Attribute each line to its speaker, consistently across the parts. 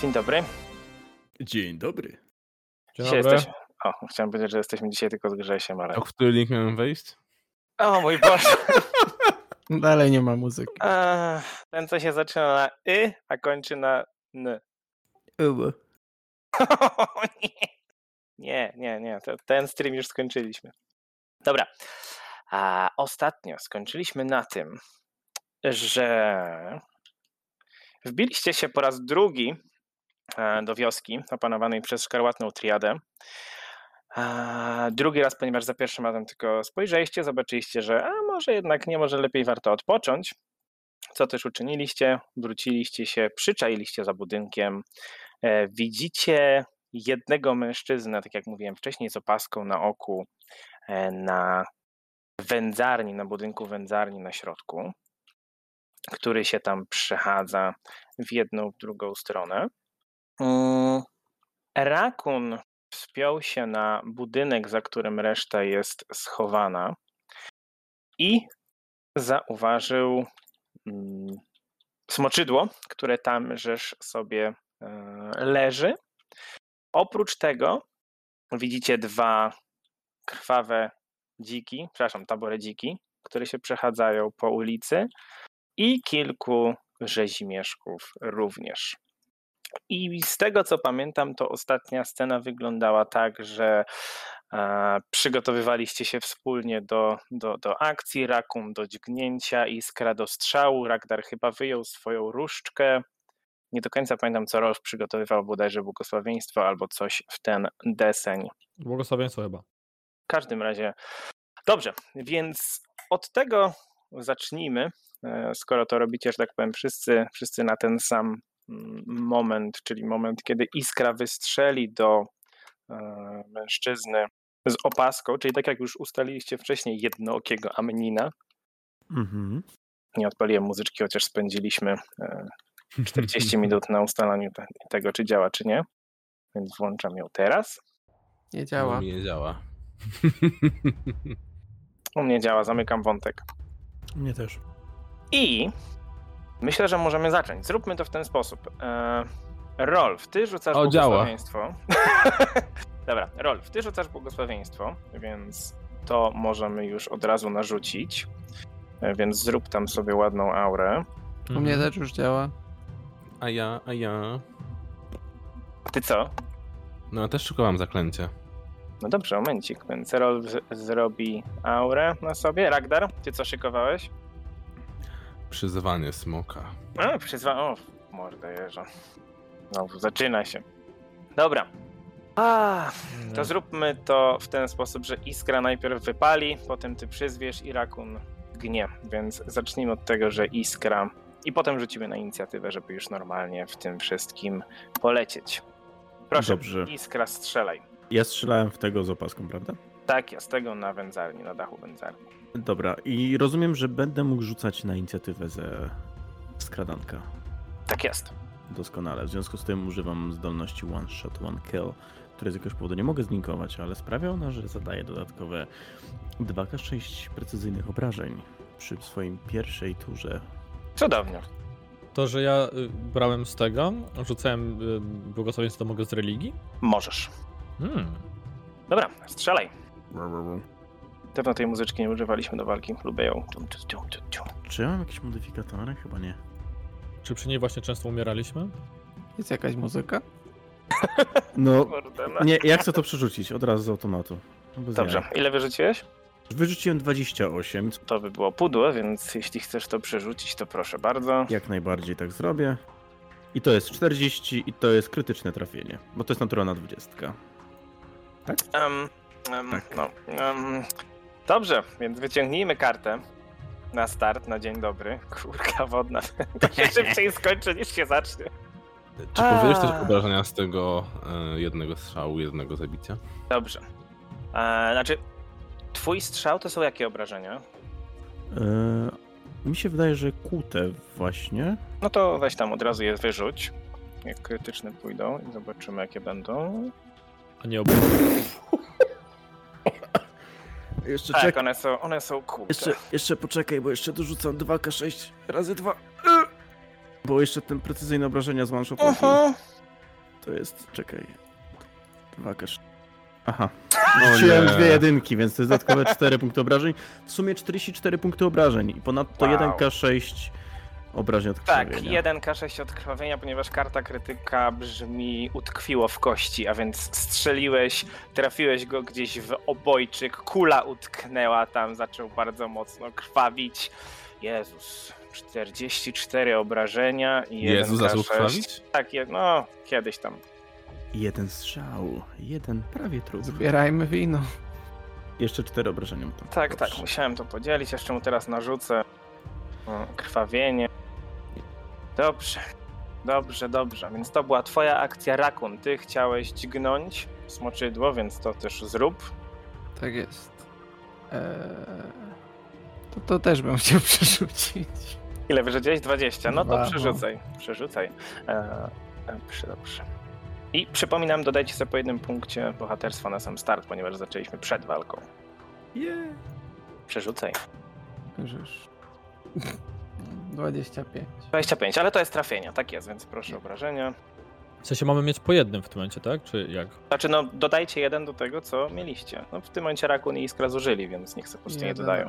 Speaker 1: Dzień dobry.
Speaker 2: Dzień dobry.
Speaker 3: Dzień
Speaker 1: Dzisiaj
Speaker 3: dobry.
Speaker 1: jesteśmy... O, chciałem powiedzieć, że jesteśmy dzisiaj tylko z Grzesiem, ale...
Speaker 3: A w który link miałem wejść?
Speaker 1: O mój Boże.
Speaker 4: No Dalej nie ma muzyki.
Speaker 1: Eee, Ten, co się zaczyna na y, a kończy na n. O nie. Nie, nie, nie. te- Ten stream już skończyliśmy. Dobra. A ostatnio skończyliśmy na tym, że wbiliście się po raz drugi e, do wioski opanowanej przez szkarłatną triadę. A, Drugi raz, ponieważ za pierwszym razem tylko spojrzeliście, zobaczyliście, że a może jednak nie, może lepiej warto odpocząć. Co też uczyniliście? Wróciliście się, przyczailiście za budynkiem. E, Widzicie jednego mężczyznę, tak jak mówiłem wcześniej, z opaską na oku e, na wędzarni, na budynku wędzarni na środku, który się tam przechadza w jedną, w drugą stronę. Mm, Rakun wspiął się na budynek, za którym reszta jest schowana i zauważył mm, smoczydło, które tam żeż sobie e, leży. Oprócz tego widzicie dwa krwawe dziki, przepraszam, tabory dziki, które się przechadzają po ulicy i kilku rzezimieszków również. I z tego co pamiętam, to ostatnia scena wyglądała tak, że e, przygotowywaliście się wspólnie do, do, do akcji, rakum do dźgnięcia i skradostrzału. Ragdar chyba wyjął swoją różdżkę, nie do końca pamiętam, co Rolf przygotowywał bodajże błogosławieństwo albo coś w ten deseń.
Speaker 3: Błogosławieństwo chyba.
Speaker 1: W każdym razie. Dobrze, więc od tego zacznijmy. e, Skoro to robicie, że tak powiem, wszyscy, wszyscy na ten sam mm, moment, czyli moment, kiedy iskra wystrzeli do e, mężczyzny z opaską, czyli tak jak już ustaliliście wcześniej, jednookiego Amnina.
Speaker 2: Mhm.
Speaker 1: Nie odpaliłem muzyczki, chociaż spędziliśmy e, 40 minut na ustalaniu te- tego, czy działa, czy nie. Więc włączam ją teraz.
Speaker 4: Nie działa.
Speaker 3: U mnie działa.
Speaker 1: U mnie działa, zamykam wątek.
Speaker 2: Mnie też.
Speaker 1: I myślę, że możemy zacząć. Zróbmy to w ten sposób. E, Rolf, ty rzucasz
Speaker 3: O, działa.
Speaker 1: błogosławieństwo. Dobra, Rolf, ty rzucasz błogosławieństwo, więc to możemy już od razu narzucić. E, Więc zrób tam sobie ładną aurę.
Speaker 4: U mnie też już działa.
Speaker 3: Mhm. A ja, a ja.
Speaker 1: Ty co?
Speaker 3: No też szukałam zaklęcia.
Speaker 1: No dobrze, momencik, więc Rolf z- zrobi aurę na sobie. Ragdar, ty co szykowałeś?
Speaker 3: Przyzwanie smoka.
Speaker 1: A, przyzwa... O, mordę jeża. Znowu zaczyna się. Dobra. A,
Speaker 2: Hmm.
Speaker 1: to zróbmy to w ten sposób, że iskra najpierw wypali, potem ty przyzwiesz i rakun gnie. Więc zacznijmy od tego, że iskra... I potem rzucimy na inicjatywę, żeby już normalnie w tym wszystkim polecieć. Proszę,
Speaker 2: Dobrze.
Speaker 1: iskra strzelaj.
Speaker 2: Ja strzelałem w tego z opaską, prawda?
Speaker 1: Tak, ja z tego na wędzarni, na dachu wędzarni.
Speaker 2: Dobra, i rozumiem, że będę mógł rzucać na inicjatywę ze skradanka.
Speaker 1: Tak jest.
Speaker 2: Doskonale. W związku z tym używam zdolności One Shot, One Kill, której z jakiegoś powodu nie mogę zlinkować, ale sprawia ona, że zadaje dodatkowe 2K6 precyzyjnych obrażeń przy swoim pierwszej turze.
Speaker 1: Cudownie.
Speaker 5: To, że ja y, brałem z tego, rzucałem y, błogosławieństwo, to mogę z religii?
Speaker 1: Możesz.
Speaker 5: Hmm.
Speaker 1: Dobra, strzelaj. No, Dawno tej muzyczki nie używaliśmy do walki. Lubię ją. Tum, tum, tum, tum, tum.
Speaker 2: Czy ja mam jakieś modyfikatory? Chyba nie.
Speaker 5: Czy przy niej właśnie często umieraliśmy?
Speaker 4: Jest jakaś muzyka?
Speaker 2: No,
Speaker 1: Kurde, no.
Speaker 2: nie, ja chcę to przerzucić od razu z automatu. No bez
Speaker 1: Dobrze,
Speaker 2: jaj.
Speaker 1: ile wyrzuciłeś?
Speaker 2: Wyrzuciłem 28, co
Speaker 1: To by było pudło, więc jeśli chcesz to przerzucić, to proszę bardzo.
Speaker 2: jak najbardziej tak zrobię. I to jest 40 i to jest krytyczne trafienie, bo to jest naturalna 20.
Speaker 1: Em, em,
Speaker 2: Tak.
Speaker 1: no, em, dobrze, więc wyciągnijmy kartę na start, na dzień dobry. Kurka wodna. To się szybciej skończy niż się zacznie.
Speaker 3: Czy
Speaker 1: A.
Speaker 3: powiesz też obrażenia z tego e, jednego strzału, jednego zabicia?
Speaker 1: Dobrze. E, znaczy, twój strzał to są jakie obrażenia?
Speaker 2: Yy, mi się wydaje, że kłute właśnie.
Speaker 1: No to weź tam od razu je wyrzuć. Jak krytyczne pójdą i zobaczymy jakie będą.
Speaker 5: A nie obu.
Speaker 2: Jeszcze
Speaker 1: Tak, one są, one są kurde.
Speaker 2: jeszcze poczekaj, bo jeszcze dorzucam 2k6 razy 2. Bo jeszcze ten precyzyjne obrażenia z one shotu.
Speaker 1: Aha.
Speaker 2: To jest, czekaj. 2K6. Aha.
Speaker 3: O
Speaker 2: Rzuciłem
Speaker 3: nie.
Speaker 2: dwie jedynki, więc to jest dodatkowe 4 punkty obrażeń. W sumie 44 punkty obrażeń i ponadto
Speaker 1: Wow.
Speaker 2: 1K6 obrażeń od
Speaker 1: Tak,
Speaker 3: no.
Speaker 2: krwawienia.
Speaker 1: 1K6 odkrwawienia, ponieważ karta krytyka brzmi utkwiło w kości, a więc strzeliłeś, trafiłeś go gdzieś w obojczyk, kula utknęła tam, zaczął bardzo mocno krwawić. Jezus, 44 obrażenia i 1K6.
Speaker 3: Jezu, zaczął krwawić?
Speaker 1: Tak, je- no, kiedyś tam.
Speaker 2: Jeden strzał, jeden prawie trup.
Speaker 4: Zbierajmy wino.
Speaker 2: Jeszcze 4 obrażenia. mu tam.
Speaker 1: Tak, tak,
Speaker 2: Dobrze.
Speaker 1: musiałem to podzielić, jeszcze mu teraz narzucę mm, krwawienie. Dobrze, dobrze, dobrze, więc to była twoja akcja Rakun. Ty chciałeś dźgnąć smoczydło, więc to też zrób.
Speaker 4: Tak jest. Eee, to, to też bym chciał przerzucić.
Speaker 1: Ile wyrzuciłeś? 20. No to
Speaker 4: Dwa, no.
Speaker 1: przerzucaj, przerzucaj. E, e, przy- dobrze. I przypominam, dodajcie sobie po jednym punkcie bohaterstwa na sam start, ponieważ zaczęliśmy przed walką.
Speaker 2: Yeah.
Speaker 1: Przerzucaj.
Speaker 4: Krzyż. 25.
Speaker 1: 25, ale to jest trafienie, tak jest, więc proszę obrażenia.
Speaker 5: W sensie mamy mieć po jednym w tym momencie, tak? Czy jak?
Speaker 1: Znaczy, no dodajcie jeden do tego, co mieliście. No w tym momencie Rakun i Iskra zużyli, więc niech sobie po prostu nie dodają.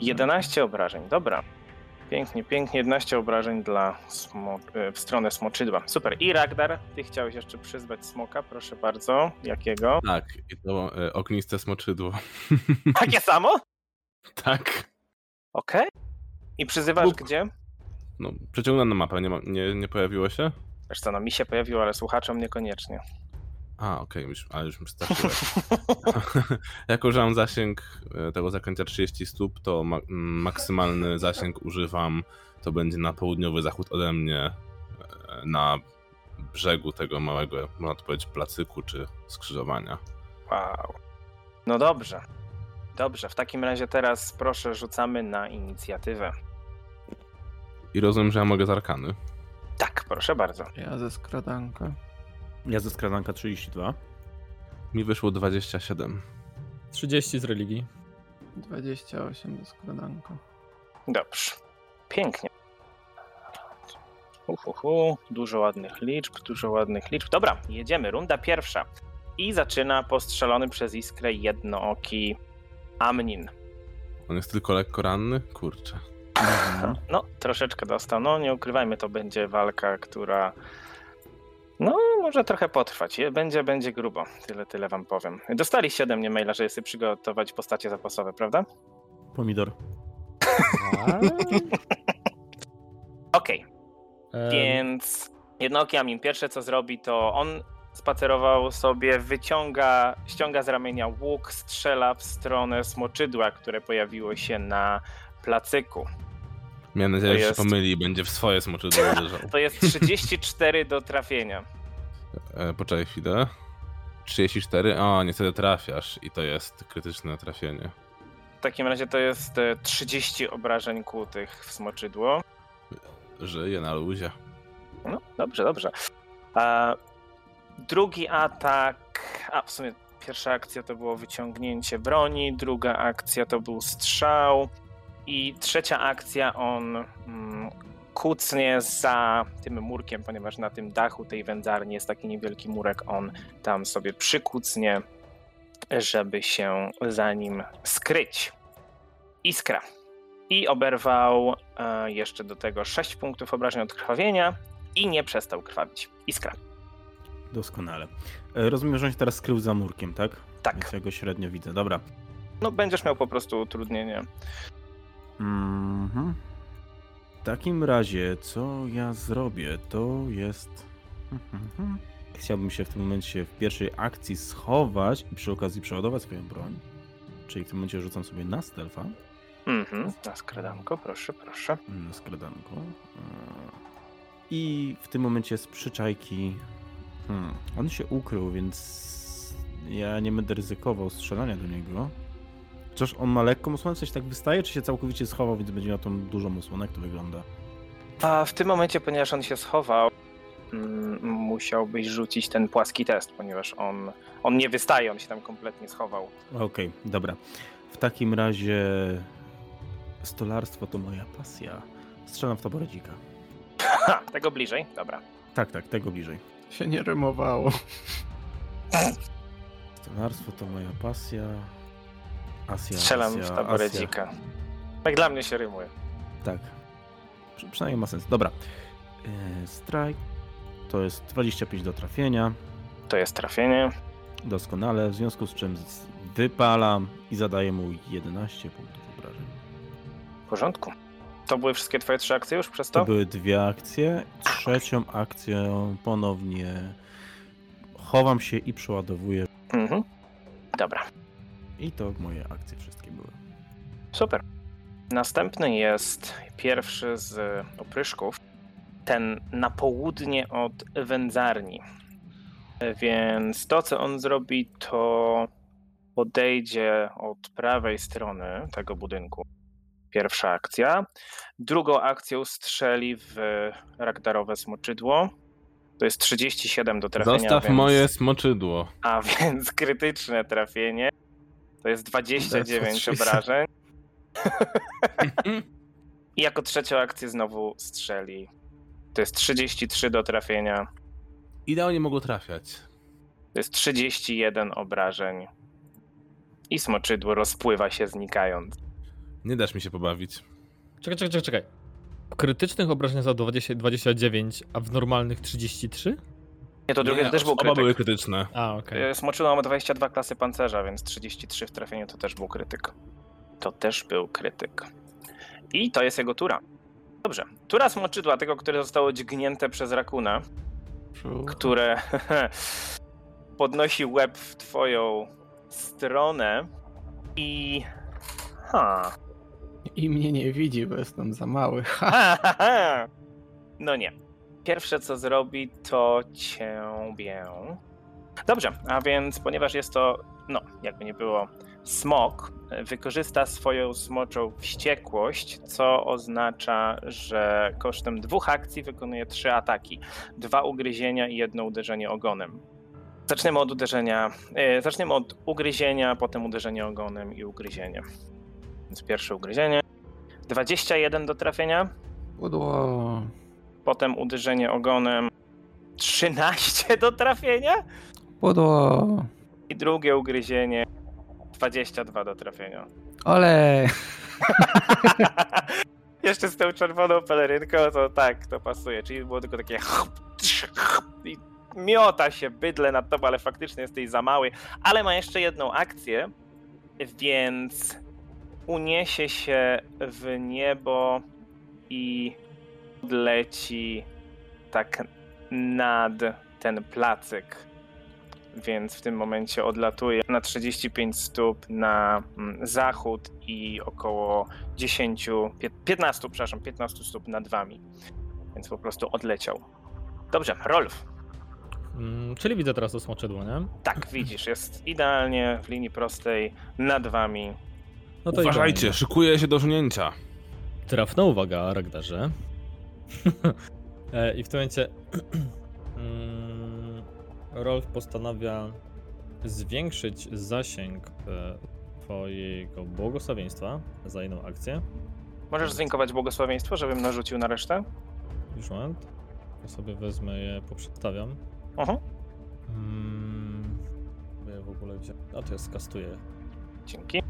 Speaker 1: 11 obrażeń, dobra. Pięknie, pięknie, 11 obrażeń dla smo- e, w stronę smoczydła. Super. I Ragdar, ty chciałeś jeszcze przyzwać smoka, proszę bardzo. Jakiego?
Speaker 3: Tak, i to e, ogniste smoczydło.
Speaker 1: Takie samo?
Speaker 3: tak.
Speaker 1: Okej. I przyzywasz
Speaker 3: Bóg.
Speaker 1: gdzie?
Speaker 3: No, przeciągnąłem na mapę, nie, ma, nie, nie pojawiło się?
Speaker 1: Wiesz co, no mi się pojawiło, ale słuchaczom niekoniecznie.
Speaker 3: A, okej, już, ale już mi starczyłem. jako, że mam zasięg e, tego zakręcia 30 stóp, to ma, mm, maksymalny zasięg używam, to będzie na południowy zachód ode mnie, e, na brzegu tego małego, można to powiedzieć, placyku czy skrzyżowania.
Speaker 1: Wow. No dobrze. Dobrze, w takim razie teraz proszę rzucamy na inicjatywę.
Speaker 3: I rozumiem, że ja mogę z arkany.
Speaker 1: Tak, proszę bardzo.
Speaker 4: Ja ze skradanka.
Speaker 2: Ja ze skradanka 32.
Speaker 3: Mi wyszło 27.
Speaker 5: 30 z religii.
Speaker 4: 28 ze skradanka.
Speaker 1: Dobrze. Pięknie. Uhuhu, dużo ładnych liczb, dużo ładnych liczb. Dobra, jedziemy. Runda pierwsza. I zaczyna postrzelony przez iskrę jednooki Amnin.
Speaker 3: On jest tylko lekko ranny? Kurczę.
Speaker 2: Mhm.
Speaker 1: No, troszeczkę dostał. No, nie ukrywajmy, to będzie walka, która. No, może trochę potrwać. Je- Będzie, będzie grubo. Tyle, tyle wam powiem. Dostaliście ode mnie maila, żeby sobie przygotować postacie zapasowe, prawda?
Speaker 2: Pomidor.
Speaker 1: Okej,
Speaker 5: Em,
Speaker 1: Więc jednooki Amin pierwsze co zrobi, to on spacerował sobie, wyciąga, ściąga z ramienia łuk, strzela w stronę smoczydła, które pojawiło się na placyku.
Speaker 3: Miałem nadzieję,
Speaker 1: To
Speaker 3: że się
Speaker 1: jest-
Speaker 3: pomyli i będzie w swoje smoczydło uderzał.
Speaker 1: To jest 34 do trafienia.
Speaker 3: E, poczekaj chwilę. 34? O, niestety trafiasz i to jest krytyczne trafienie.
Speaker 1: W takim razie to jest e, 30 obrażeń kłutych w smoczydło.
Speaker 3: Żyje na luzie.
Speaker 1: No, dobrze, dobrze. A drugi atak. A w sumie pierwsza akcja to było wyciągnięcie broni, druga akcja to był strzał. I trzecia akcja on mm, kucnie za tym murkiem, ponieważ na tym dachu tej wędzarni jest taki niewielki murek. On tam sobie przykucnie, żeby się za nim skryć. Iskra. I oberwał e, jeszcze do tego 6 punktów obrażeń od krwawienia i nie przestał krwawić. Iskra.
Speaker 2: Doskonale. E, Rozumiem, że on się teraz skrył za murkiem, tak? Więc
Speaker 1: Tak.
Speaker 2: ja go średnio widzę. Dobra.
Speaker 1: No będziesz miał po prostu utrudnienie.
Speaker 2: Mhm. W takim razie, co ja zrobię, to jest. Mhm. Chciałbym się w tym momencie w pierwszej akcji schować i przy okazji przeładować swoją broń. Czyli w tym momencie rzucam sobie na stealtha,
Speaker 1: Mhm. Na skradanko, proszę, proszę.
Speaker 2: na skradanku. Mm. I w tym momencie z przyczajki. Hmm. On się ukrył, więc ja nie będę ryzykował strzelania do niego. Chociaż on ma lekką osłonę, coś tak wystaje, czy się całkowicie schował, więc będzie miał tą dużą osłonę, jak to wygląda.
Speaker 1: A w tym momencie, ponieważ on się schował, mm, musiałbyś rzucić ten płaski test, ponieważ on, on nie wystaje, on się tam kompletnie schował.
Speaker 2: Okej, dobra. W takim razie stolarstwo to moja pasja. Strzelam w taboredzika.
Speaker 1: Ha, tego bliżej, dobra.
Speaker 2: Tak, tak, tego bliżej.
Speaker 4: się nie rymowało.
Speaker 2: Stolarstwo to moja pasja. Asja,
Speaker 1: Strzelam
Speaker 2: Asja,
Speaker 1: w
Speaker 2: Asja.
Speaker 1: taboredzika. Tak dla mnie się rymuje.
Speaker 2: Tak. Przy, przynajmniej ma sens. Dobra. Yy, strike. To jest 25 do trafienia.
Speaker 1: To jest trafienie.
Speaker 2: Doskonale. W związku z czym z- wypalam i zadaję mu 11 punktów obrażeń.
Speaker 1: W porządku. To były wszystkie twoje trzy akcje już przez
Speaker 2: To
Speaker 1: to?
Speaker 2: były dwie akcje. Trzecią akcją ponownie chowam się i przeładowuję.
Speaker 1: Mhm. Dobra,
Speaker 2: I to moje akcje wszystkie były.
Speaker 1: super. Następny jest pierwszy z opryszków. Ten na południe od wędzarni. Więc to, co on zrobi, to podejdzie od prawej strony tego budynku. Pierwsza akcja. Drugą akcją strzeli w ragdarowe smoczydło. To jest 37 do trafienia.
Speaker 3: Zostaw
Speaker 1: więc...
Speaker 3: moje smoczydło.
Speaker 1: A więc krytyczne trafienie. To jest 29
Speaker 4: That's what she
Speaker 1: obrażeń. I jako trzecią akcję znowu strzeli. To jest 33 do trafienia.
Speaker 3: Idealnie mogło trafiać.
Speaker 1: To jest 31 obrażeń. I smoczydło rozpływa się znikając.
Speaker 3: Nie dasz mi się pobawić.
Speaker 5: Czekaj, czekaj, czekaj, czekaj. W krytycznych obrażeniach za 20, 29, a w normalnych 33?
Speaker 1: Nie, to drugie
Speaker 3: Nie,
Speaker 1: to też był
Speaker 3: Oba
Speaker 1: krytyk.
Speaker 3: były krytyczne.
Speaker 5: A, okej.
Speaker 1: Y, Smoczydło ma 22 klasy pancerza, więc 33 w trafieniu to też był krytyk. To też był krytyk. I to jest jego tura. Dobrze. Tura smoczydła, tego, które zostało dźgnięte przez rakuna,
Speaker 4: Hm.
Speaker 1: które podnosi łeb w twoją stronę i... Ha.
Speaker 4: I mnie nie widzi, bo jestem za mały. Ha!
Speaker 1: ha, ha, ha. No nie. Pierwsze, co zrobi, to ciebie. Dobrze, a więc ponieważ jest to, no, jakby nie było, smok, wykorzysta swoją smoczą wściekłość, co oznacza, że kosztem dwóch akcji wykonuje trzy ataki. Dwa ugryzienia i jedno uderzenie ogonem. Zaczniemy od uderzenia, e, zaczniemy od ugryzienia, potem uderzenie ogonem i ugryzienie. Więc pierwsze ugryzienie. 21 do trafienia.
Speaker 4: Udło.
Speaker 1: Potem uderzenie ogonem 13 do trafienia
Speaker 4: Udło.
Speaker 1: i drugie ugryzienie 22 do trafienia.
Speaker 4: Ole!
Speaker 1: Jeszcze z tą czerwoną pelerynką, to tak, to pasuje. Czyli było tylko takie i miota się bydlę nad tobą, ale faktycznie jesteś za mały. Ale ma jeszcze jedną akcję, więc uniesie się w niebo i leci tak nad ten placyk. Więc w tym momencie odlatuje na 35 stóp na mm, zachód i około 10, pie- 15, przepraszam, 15 stóp nad wami. Więc po prostu odleciał. Dobrze, Rolf.
Speaker 5: Mm, czyli widzę teraz to smoczydło, nie?
Speaker 1: Tak, widzisz, jest idealnie w linii prostej nad wami.
Speaker 5: No to
Speaker 3: Uważajcie, szykuje się do żnięcia.
Speaker 5: Trafna uwaga, Ragdarze. E, I w tym momencie mm, Rolf postanawia zwiększyć zasięg e, twojego błogosławieństwa za jedną akcję.
Speaker 1: Możesz zlinkować błogosławieństwo, żebym narzucił na resztę?
Speaker 5: Już moment. Ja sobie wezmę je, poprzedstawiam.
Speaker 1: Aha,
Speaker 5: Mm, ja w ogóle wziąłem. A to ja skastuję.
Speaker 1: dzięki.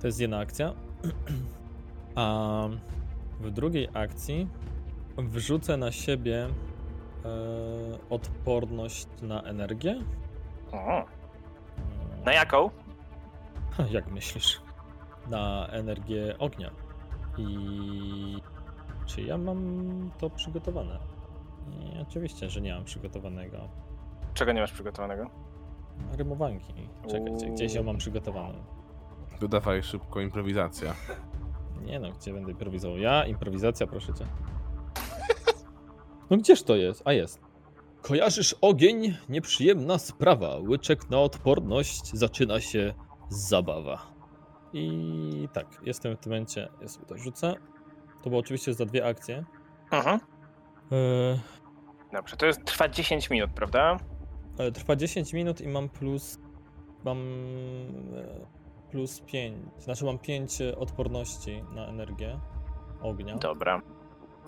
Speaker 5: To jest jedna akcja. A w drugiej akcji wrzucę na siebie e, odporność na energię.
Speaker 1: O, Mhm. na jaką?
Speaker 5: Jak myślisz? Na energię ognia. I czy ja mam to przygotowane? Nie, oczywiście, że nie mam przygotowanego.
Speaker 1: Czego nie masz przygotowanego?
Speaker 5: Rymowanki. Czekajcie, gdzieś ją mam przygotowaną.
Speaker 3: To dawaj szybko improwizacja.
Speaker 5: Nie no, gdzie będę improwizował? Ja? Improwizacja, proszę cię. No gdzież to jest? A jest. Kojarzysz ogień? Nieprzyjemna sprawa. Łyczek na odporność. Zaczyna się zabawa. I tak, jestem w tym momencie. Ja sobie to rzucę. To było oczywiście za dwie akcje.
Speaker 1: Mhm.
Speaker 5: Yy,
Speaker 1: Dobrze, to jest, trwa 10 minut, prawda?
Speaker 5: ale trwa 10 minut i mam plus. Mam. e, Plus 5. Znaczy mam 5 odporności na energię ognia.
Speaker 1: Dobra.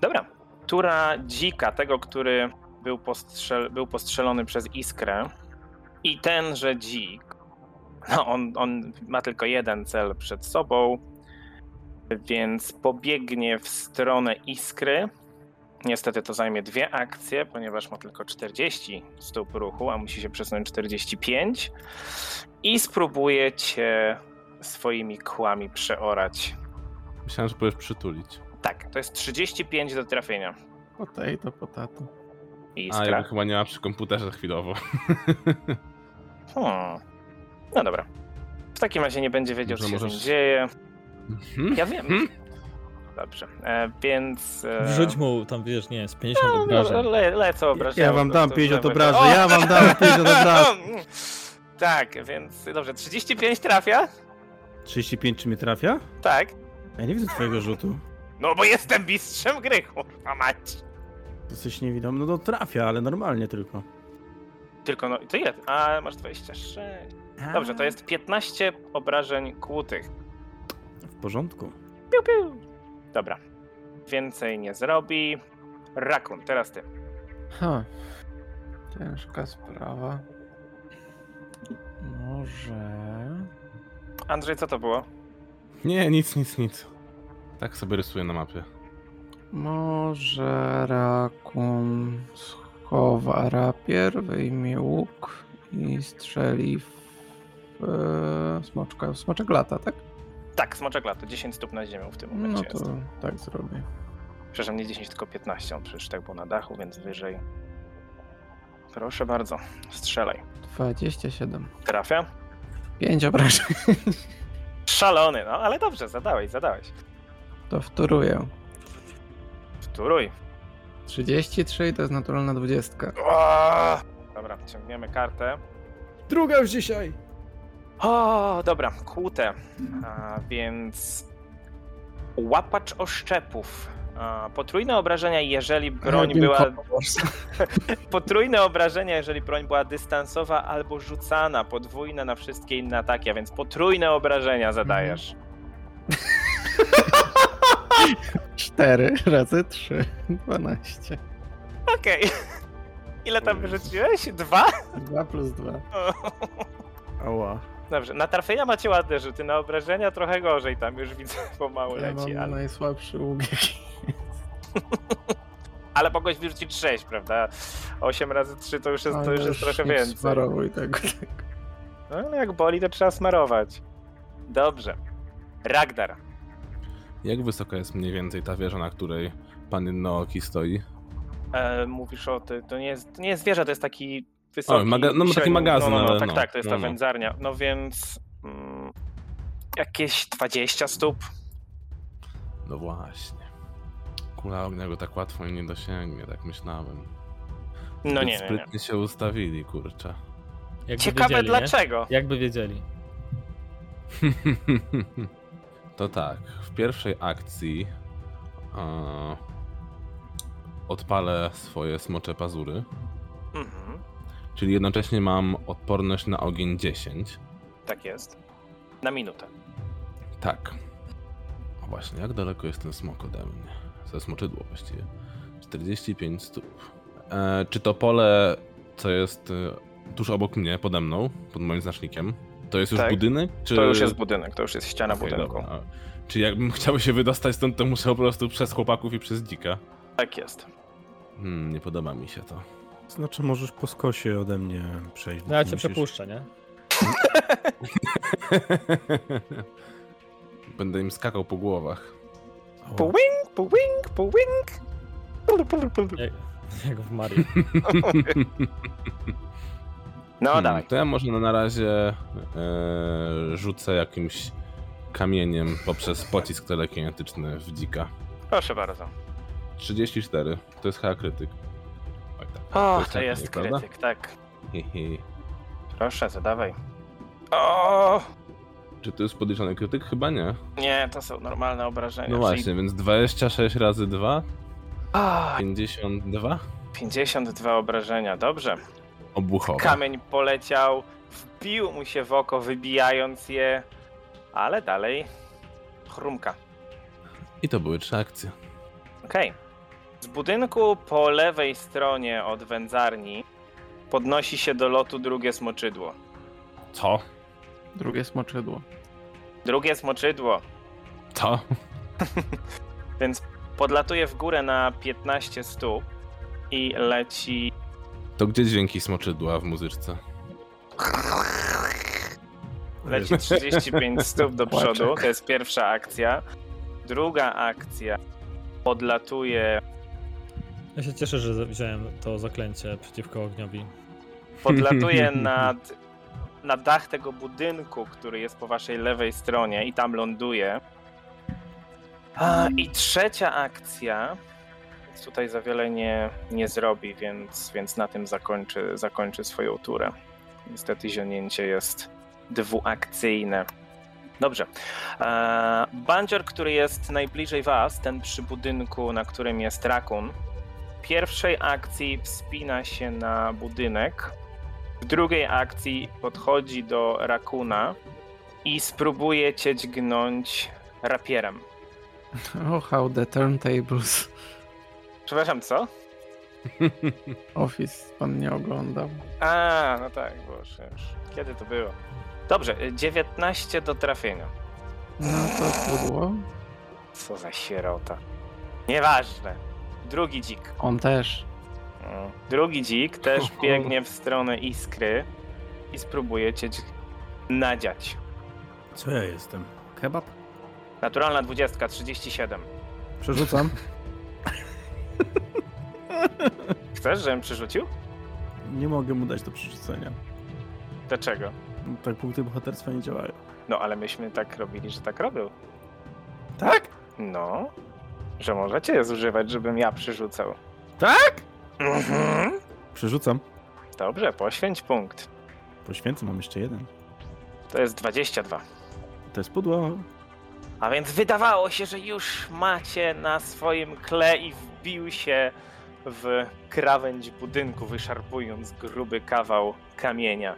Speaker 1: Dobra. Tura dzika, tego, który był, postrzel, był postrzelony przez iskrę i tenże dzik, no on, on ma tylko jeden cel przed sobą, więc pobiegnie w stronę iskry. Niestety to zajmie dwie akcje, ponieważ ma tylko 40 stóp ruchu, a musi się przesunąć 45 i spróbuje cię swoimi kłami przeorać.
Speaker 3: Myślałem, że powiesz przytulić.
Speaker 1: Tak, to jest 35 do trafienia.
Speaker 4: Potato, potato.
Speaker 3: A
Speaker 1: Iskra.
Speaker 3: jego chyba nie ma przy komputerze chwilowo.
Speaker 1: Hmm. No dobra. W takim razie nie będzie wiedział, co się
Speaker 3: Dobrze,
Speaker 1: z nim
Speaker 3: możesz-
Speaker 1: dzieje.
Speaker 3: Mhm.
Speaker 1: Ja wiem. Dobrze, e, więc... E,
Speaker 5: Wrzuć mu tam, wiesz, nie, z 50
Speaker 1: no,
Speaker 5: obrażeń.
Speaker 1: le, lecę obrażenia.
Speaker 2: Ja wam
Speaker 1: po
Speaker 2: dam
Speaker 1: prostu
Speaker 2: 50
Speaker 1: żeby-
Speaker 2: obrażeń,
Speaker 1: O!
Speaker 2: ja wam dam 50 obrażeń.
Speaker 1: Tak, więc dobrze, 35 trafia?
Speaker 2: 35 czy mnie trafia?
Speaker 1: Tak.
Speaker 2: Ja nie widzę twojego rzutu.
Speaker 1: No bo jestem mistrzem gry, kurwa mać.
Speaker 2: Jesteś niewidomy. No to trafia, ale normalnie tylko.
Speaker 1: Tylko no, to ile? A, masz 26. Dobrze, to jest 15 obrażeń kłutych.
Speaker 2: W porządku.
Speaker 1: Piu, piu. Dobra. Więcej nie zrobi. Rakun, teraz ty.
Speaker 4: Ha. Ciężka sprawa. Może...
Speaker 1: Andrzej, co to było?
Speaker 3: Nie, nic, nic, nic. Tak sobie rysuję na mapie.
Speaker 4: Może rakun schowa rapier, wyjmie łuk i strzeli w e, smoczka. Smoczek lata, tak?
Speaker 1: Tak, smoczek lata, 10 stóp na ziemię w tym
Speaker 4: No
Speaker 1: momencie
Speaker 4: to
Speaker 1: jest.
Speaker 4: tak zrobię.
Speaker 1: Przepraszam, nie 10, tylko 15. On przecież tak był na dachu, więc wyżej. Proszę bardzo, strzelaj.
Speaker 4: 27.
Speaker 1: Trafia?
Speaker 4: 5 obrażeń.
Speaker 1: Szalony, no ale dobrze, zadałeś, zadałeś.
Speaker 4: To wtóruję.
Speaker 1: Wtóruj.
Speaker 4: 33 to jest naturalna 20.
Speaker 1: Aaaa! Dobra, ciągniemy kartę.
Speaker 2: Druga już dzisiaj!
Speaker 1: O, dobra, kłute. A, więc łapacz oszczepów. A, potrójne obrażenia, jeżeli broń
Speaker 4: Robin
Speaker 1: była
Speaker 4: Powers.
Speaker 1: Potrójne obrażenia, jeżeli broń była dystansowa albo rzucana, podwójne na wszystkie inne ataki, a więc potrójne obrażenia zadajesz.
Speaker 4: 4 razy 3. 12.
Speaker 1: Okej. Ile tam
Speaker 3: O Jezus.
Speaker 1: wyrzuciłeś? Dwa?
Speaker 4: 2 plus 2.
Speaker 2: Ała.
Speaker 1: Dobrze, na trafienia macie ładne rzuty, na obrażenia trochę gorzej tam już widzę, pomału
Speaker 4: Ja
Speaker 1: leci,
Speaker 4: mam
Speaker 1: ale,
Speaker 4: najsłabszy łuk. jaki-
Speaker 1: ale mogłeś wyrzucić sześć, prawda? Osiem razy trzy to już jest, to
Speaker 4: Ale
Speaker 1: już jest trochę
Speaker 4: nie
Speaker 1: więcej.
Speaker 4: Smarowuj tego. tak.
Speaker 1: No ale jak boli, to trzeba smarować. Dobrze. Ragdar.
Speaker 3: Jak wysoka jest mniej więcej ta wieża, na której pan Jednooki stoi?
Speaker 1: E, mówisz o ty, to nie jest, to nie jest wieża, to jest taki wysoki...
Speaker 3: O, maga- no, taki
Speaker 1: średni-
Speaker 3: magazyn,
Speaker 1: No, no, no,
Speaker 3: ale
Speaker 1: tak,
Speaker 3: no,
Speaker 1: tak, to jest
Speaker 3: no,
Speaker 1: ta
Speaker 3: no.
Speaker 1: wędzarnia. No więc mm, jakieś 20 stóp.
Speaker 3: No właśnie. Kula ognia go tak łatwo nie dosięgnie, tak myślałem.
Speaker 1: No
Speaker 3: Zbyt
Speaker 1: nie, nie, nie.
Speaker 3: Sprytnie się ustawili, kurczę.
Speaker 5: Jakby
Speaker 1: Ciekawe
Speaker 5: wiedzieli, nie?
Speaker 1: dlaczego.
Speaker 5: Jakby wiedzieli.
Speaker 3: to tak, w pierwszej akcji e, odpalę swoje smocze pazury,
Speaker 1: Mhm,
Speaker 3: czyli jednocześnie mam odporność na ogień 10.
Speaker 1: tak jest. Na minutę.
Speaker 3: Tak. A właśnie, jak daleko jest ten smok ode mnie? Ze smoczydło właściwie. 45 stóp. E, czy to pole, co jest e, tuż obok mnie, pode mną, pod moim znacznikiem, to jest już
Speaker 1: Tak.
Speaker 3: budynek? Czy...
Speaker 1: To już jest budynek, to już jest ściana
Speaker 3: Okej,
Speaker 1: budynku.
Speaker 3: dobra. A Czy jakbym chciał się wydostać stąd, to muszę po prostu przez chłopaków i przez dzika?
Speaker 1: Tak jest.
Speaker 3: Hmm, nie podoba mi się to.
Speaker 2: Znaczy możesz po skosie ode mnie przejść.
Speaker 5: No ja
Speaker 2: nie
Speaker 5: cię
Speaker 2: musisz-
Speaker 5: przepuszczę, nie?
Speaker 3: Będę im skakał po głowach.
Speaker 2: Ała.
Speaker 1: Puwing, puwing, puwing. Pul, pul, pul, pul.
Speaker 5: Jak, jak w Mario.
Speaker 1: No
Speaker 3: Hmm,
Speaker 1: dawaj.
Speaker 3: To ja może na razie e, rzucę jakimś kamieniem poprzez pocisk telekinetyczny w dzika.
Speaker 1: Proszę bardzo.
Speaker 3: 34. To jest chyba krytyk. Tak, tak.
Speaker 1: O,
Speaker 3: jest
Speaker 1: to jest
Speaker 3: krytyk, prawda?
Speaker 1: krytyk, tak.
Speaker 3: Hehe.
Speaker 1: Proszę, zadawaj. O,
Speaker 3: Czy to jest podliczony krytyk? Chyba nie.
Speaker 1: nie, to są normalne obrażenia.
Speaker 3: No
Speaker 1: czyli-
Speaker 3: właśnie, więc 26 razy 2,
Speaker 1: O,
Speaker 3: 52?
Speaker 1: 52 obrażenia, dobrze.
Speaker 3: Obuchowa.
Speaker 1: Kamień poleciał, wbił mu się w oko, wybijając je, ale dalej chrumka.
Speaker 3: I to były trzy akcje.
Speaker 1: Okej. Z budynku po lewej stronie od wędzarni podnosi się do lotu drugie smoczydło.
Speaker 3: Co?
Speaker 4: Drugie smoczydło.
Speaker 1: Drugie smoczydło,
Speaker 3: Co?
Speaker 1: więc podlatuje w górę na 15 stóp i leci.
Speaker 3: To gdzie dźwięki smoczydła w muzyczce?
Speaker 1: Leci 35 stóp do
Speaker 4: Płaczek.
Speaker 1: przodu. To jest pierwsza akcja. Druga akcja podlatuje,
Speaker 5: Ja się cieszę, że wziąłem to zaklęcie przeciwko ogniowi.
Speaker 1: podlatuje nad, na dach tego budynku, który jest po waszej lewej stronie i tam ląduje. A, I trzecia akcja. Więc Tutaj za wiele nie, nie zrobi, więc, więc na tym zakończy, zakończy swoją turę. Niestety zionięcie jest dwuakcyjne. Dobrze. Eee, Bandzior, który jest najbliżej was, ten przy budynku, na którym jest rakun, w pierwszej akcji wspina się na budynek, w drugiej akcji podchodzi do rakuna i spróbuje cię dźgnąć rapierem.
Speaker 4: Oh, how the turntables.
Speaker 1: Przepraszam, co?
Speaker 4: Office pan nie oglądał.
Speaker 1: A, no tak, boże, już. Kiedy to było? Dobrze, y, 19 do trafienia.
Speaker 4: No to było.
Speaker 1: Co za sierota. Nieważne. Drugi dzik.
Speaker 4: On też.
Speaker 1: Mm. Drugi dzik też biegnie w stronę iskry i spróbuje cię dźg- nadziać.
Speaker 2: Co ja jestem? Kebab?
Speaker 1: Naturalna 20, 37.
Speaker 2: Przerzucam.
Speaker 1: Chcesz, żebym przerzucił?
Speaker 2: Nie mogę mu dać do przerzucenia.
Speaker 1: Dlaczego?
Speaker 2: Tak punkty bohaterstwa nie działają.
Speaker 1: No ale myśmy tak robili, że tak robił.
Speaker 2: Tak?
Speaker 1: No, że możecie je zużywać, żebym ja przerzucał.
Speaker 2: Tak?
Speaker 1: Mhm.
Speaker 2: Przerzucam.
Speaker 1: Dobrze, poświęć punkt.
Speaker 2: Poświęcę, mam jeszcze jeden.
Speaker 1: To jest 22.
Speaker 2: To jest pudło.
Speaker 1: A więc wydawało się, że już macie na swoim kle i wbił się w krawędź budynku, wyszarpując gruby kawał kamienia.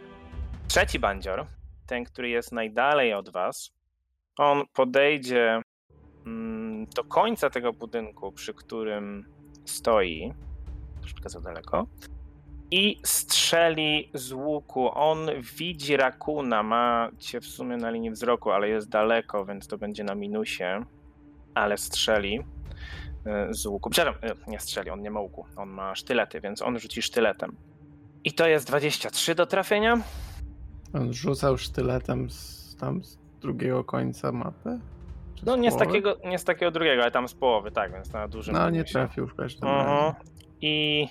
Speaker 1: Trzeci bandzior, ten, który jest najdalej od was, on podejdzie mm, do końca tego budynku, przy którym stoi, troszeczkę za daleko, i strzeli z łuku. On widzi rakuna, ma cię w sumie na linii wzroku, ale jest daleko, więc to będzie na minusie. Ale strzeli e, z łuku. Przepraszam, e, nie strzeli, on nie ma łuku, on ma sztylety, więc on rzuci sztyletem. I to jest 23 do trafienia.
Speaker 4: On rzucał sztyletem z, tam z drugiego końca mapy? Czy
Speaker 1: No nie z,
Speaker 4: połowy?
Speaker 1: takiego, nie z takiego drugiego, ale tam z połowy, tak, więc na dużym.
Speaker 4: No ale nie
Speaker 1: minusie.
Speaker 4: trafił w każdym
Speaker 1: Mhm.
Speaker 4: razie.
Speaker 1: I.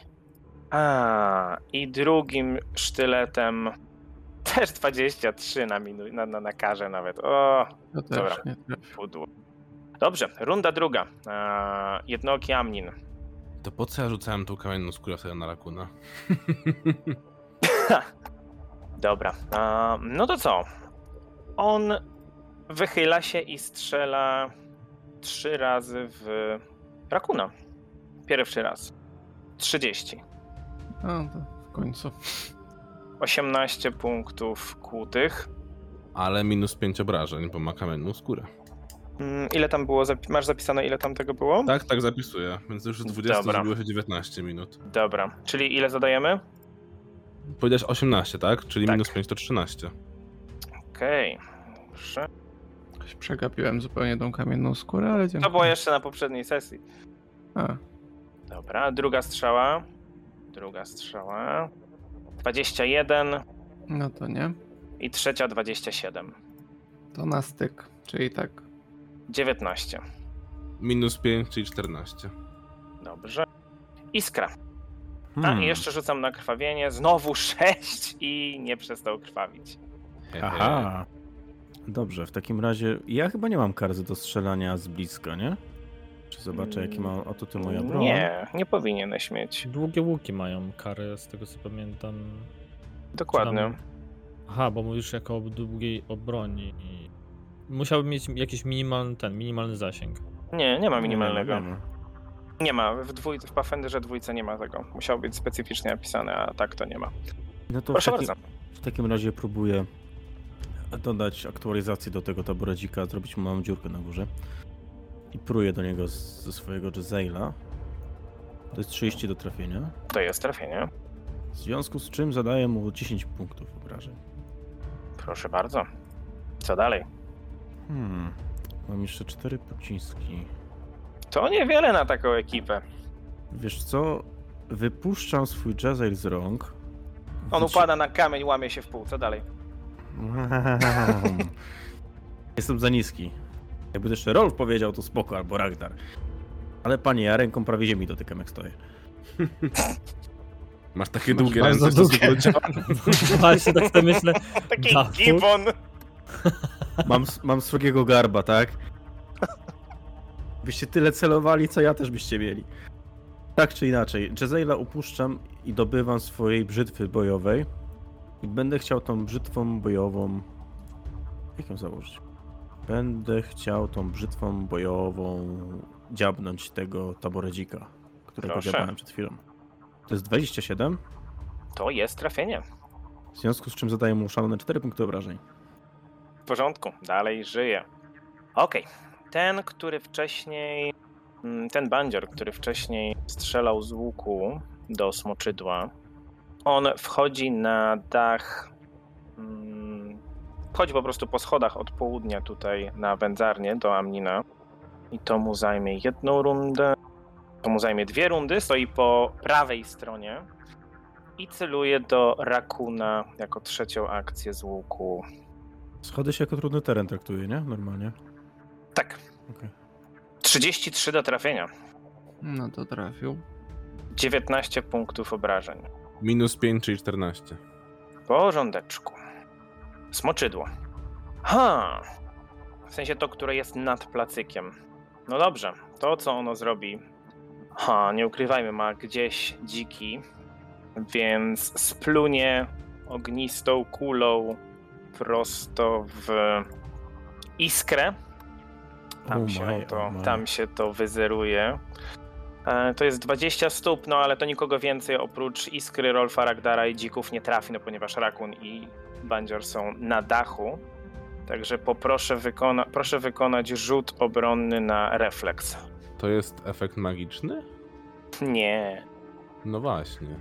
Speaker 1: A, i drugim sztyletem też 23 na, minu, na, na, na karze nawet. O,
Speaker 4: To też
Speaker 1: Dobra.
Speaker 4: nie trafił.
Speaker 1: pudło. Dobrze, runda druga. Eee, jednooki Amnin.
Speaker 3: To po co ja rzucałem tą kamienną skórę sobie na rakuna?
Speaker 1: Dobra, eee, no to co? On wychyla się i strzela trzy razy w rakuna. Pierwszy raz. 30.
Speaker 4: No to w końcu.
Speaker 1: 18 punktów kłutych.
Speaker 3: Ale minus 5 obrażeń, bo ma kamienną skórę.
Speaker 1: Mm, Ile tam było? zapi- Masz zapisane, ile tam tego było?
Speaker 3: Tak, tak zapisuję. Więc już z 20
Speaker 1: Dobra.
Speaker 3: zrobiło się 19 minut.
Speaker 1: Dobra, czyli ile zadajemy?
Speaker 3: Powiedziałeś 18, tak? Czyli
Speaker 1: Tak.
Speaker 3: minus 5 to 13.
Speaker 1: Okej. Dobrze.
Speaker 4: Jakoś Przegapiłem zupełnie tą kamienną skórę, ale dziękuję.
Speaker 1: To było jeszcze na poprzedniej sesji.
Speaker 4: A,
Speaker 1: Dobra, druga strzała. Druga strzała. 21
Speaker 4: no to nie.
Speaker 1: i trzecia 27.
Speaker 4: To na styk, czyli tak.
Speaker 1: 19.
Speaker 3: Minus 5, czyli 14.
Speaker 1: Dobrze. Iskra. A
Speaker 2: Hmm.
Speaker 1: i jeszcze rzucam na krwawienie. Znowu 6 i nie przestał krwawić.
Speaker 3: He, he.
Speaker 2: Aha. Dobrze, w takim razie ja chyba nie mam kar do strzelania z bliska, nie? Czy zobaczę, jakie ma atuty moja broń?
Speaker 1: Mm, Nie, nie powinieneś mieć.
Speaker 5: Długie łuki mają karę, z tego co pamiętam. Czy tam-
Speaker 1: Dokładnie.
Speaker 5: Aha, bo mówisz jako o długiej obroni. i- Musiałbym mieć jakiś minimalny ten, minimalny zasięg.
Speaker 1: Nie, nie ma
Speaker 2: Nie,
Speaker 1: minimalnego.
Speaker 2: nie ma.
Speaker 1: Nie ma, w, dwój, w Pathfinderze dwójce nie ma tego. Musiał być specyficznie napisane, a tak to nie ma.
Speaker 2: No to
Speaker 1: Proszę
Speaker 2: w, taki,
Speaker 1: bardzo.
Speaker 2: w takim razie próbuję dodać aktualizację do tego taboradzika, zrobić mu małą dziurkę na górze. I pruję do niego z, ze swojego Jezaila. To jest 30 do trafienia.
Speaker 1: To jest trafienie.
Speaker 2: W związku z czym zadaję mu 10 punktów obrażeń.
Speaker 1: Proszę bardzo. Co dalej?
Speaker 2: Hmm. Mam jeszcze 4 pociski.
Speaker 1: To niewiele na taką ekipę.
Speaker 2: Wiesz co? Wypuszczam swój Jazzail z rąk.
Speaker 1: On
Speaker 2: Wyci-
Speaker 1: upada na kamień, łamie się w pół. Co dalej?
Speaker 2: Jestem za niski. Jakby to jeszcze Rolf powiedział, to spoko, albo Ragnar. Ale panie, ja ręką prawie ziemi dotykam, jak stoję.
Speaker 3: Masz takie
Speaker 5: Masz
Speaker 3: długie
Speaker 5: bardzo
Speaker 3: ręce, że
Speaker 5: długie.
Speaker 3: to działa.
Speaker 5: Właśnie tak sobie myślę.
Speaker 1: Taki
Speaker 5: Dafur?
Speaker 1: gibon.
Speaker 2: Mam, mam srogiego garba, tak? Byście tyle celowali, co ja też byście mieli. Tak czy inaczej, Jezaila upuszczam i dobywam swojej brzytwy bojowej. I będę chciał tą brzytwą bojową. Jak ją założyć? Będę chciał tą brzytwą bojową dziabnąć tego taboredzika, którego
Speaker 1: Proszę.
Speaker 2: dziabałem przed chwilą. To jest 27,
Speaker 1: To jest trafienie.
Speaker 2: w związku z czym zadaję mu szalone 4 punkty obrażeń.
Speaker 1: W porządku. Dalej żyje. Okej. Ten, który wcześniej... mm, Ten bandzior, który wcześniej strzelał z łuku do smoczydła, on wchodzi na dach... mm, Wchodzi po prostu po schodach od południa tutaj na wędzarnię do Amnina. I to mu zajmie jedną rundę. To mu zajmie dwie rundy. Stoi po prawej stronie. I celuje do Rakuna jako trzecią akcję z łuku.
Speaker 2: Schody się jako trudny teren traktuje, nie? Normalnie.
Speaker 1: Tak.
Speaker 2: Okej.
Speaker 1: 33 do trafienia.
Speaker 4: No to trafił.
Speaker 1: 19 punktów obrażeń.
Speaker 3: Minus 5, czyli 14.
Speaker 1: Porządeczku. Smoczydło. Ha! W sensie to, które jest nad placykiem. No dobrze, to co ono zrobi. Ha, nie ukrywajmy, ma gdzieś dziki, więc splunie ognistą kulą prosto w iskrę. Tam,
Speaker 2: Oh
Speaker 1: się,
Speaker 2: my,
Speaker 1: to,
Speaker 2: oh my.
Speaker 1: tam się to wyzeruje. E, To jest 20 stóp, no ale to nikogo więcej oprócz Iskry, Rolfa, Ragdara i Dzików nie trafi, no ponieważ Rakun i Bandzior są na dachu. Także poproszę wykona- proszę wykonać rzut obronny na refleks.
Speaker 3: To jest efekt magiczny?
Speaker 1: Nie.
Speaker 3: No właśnie.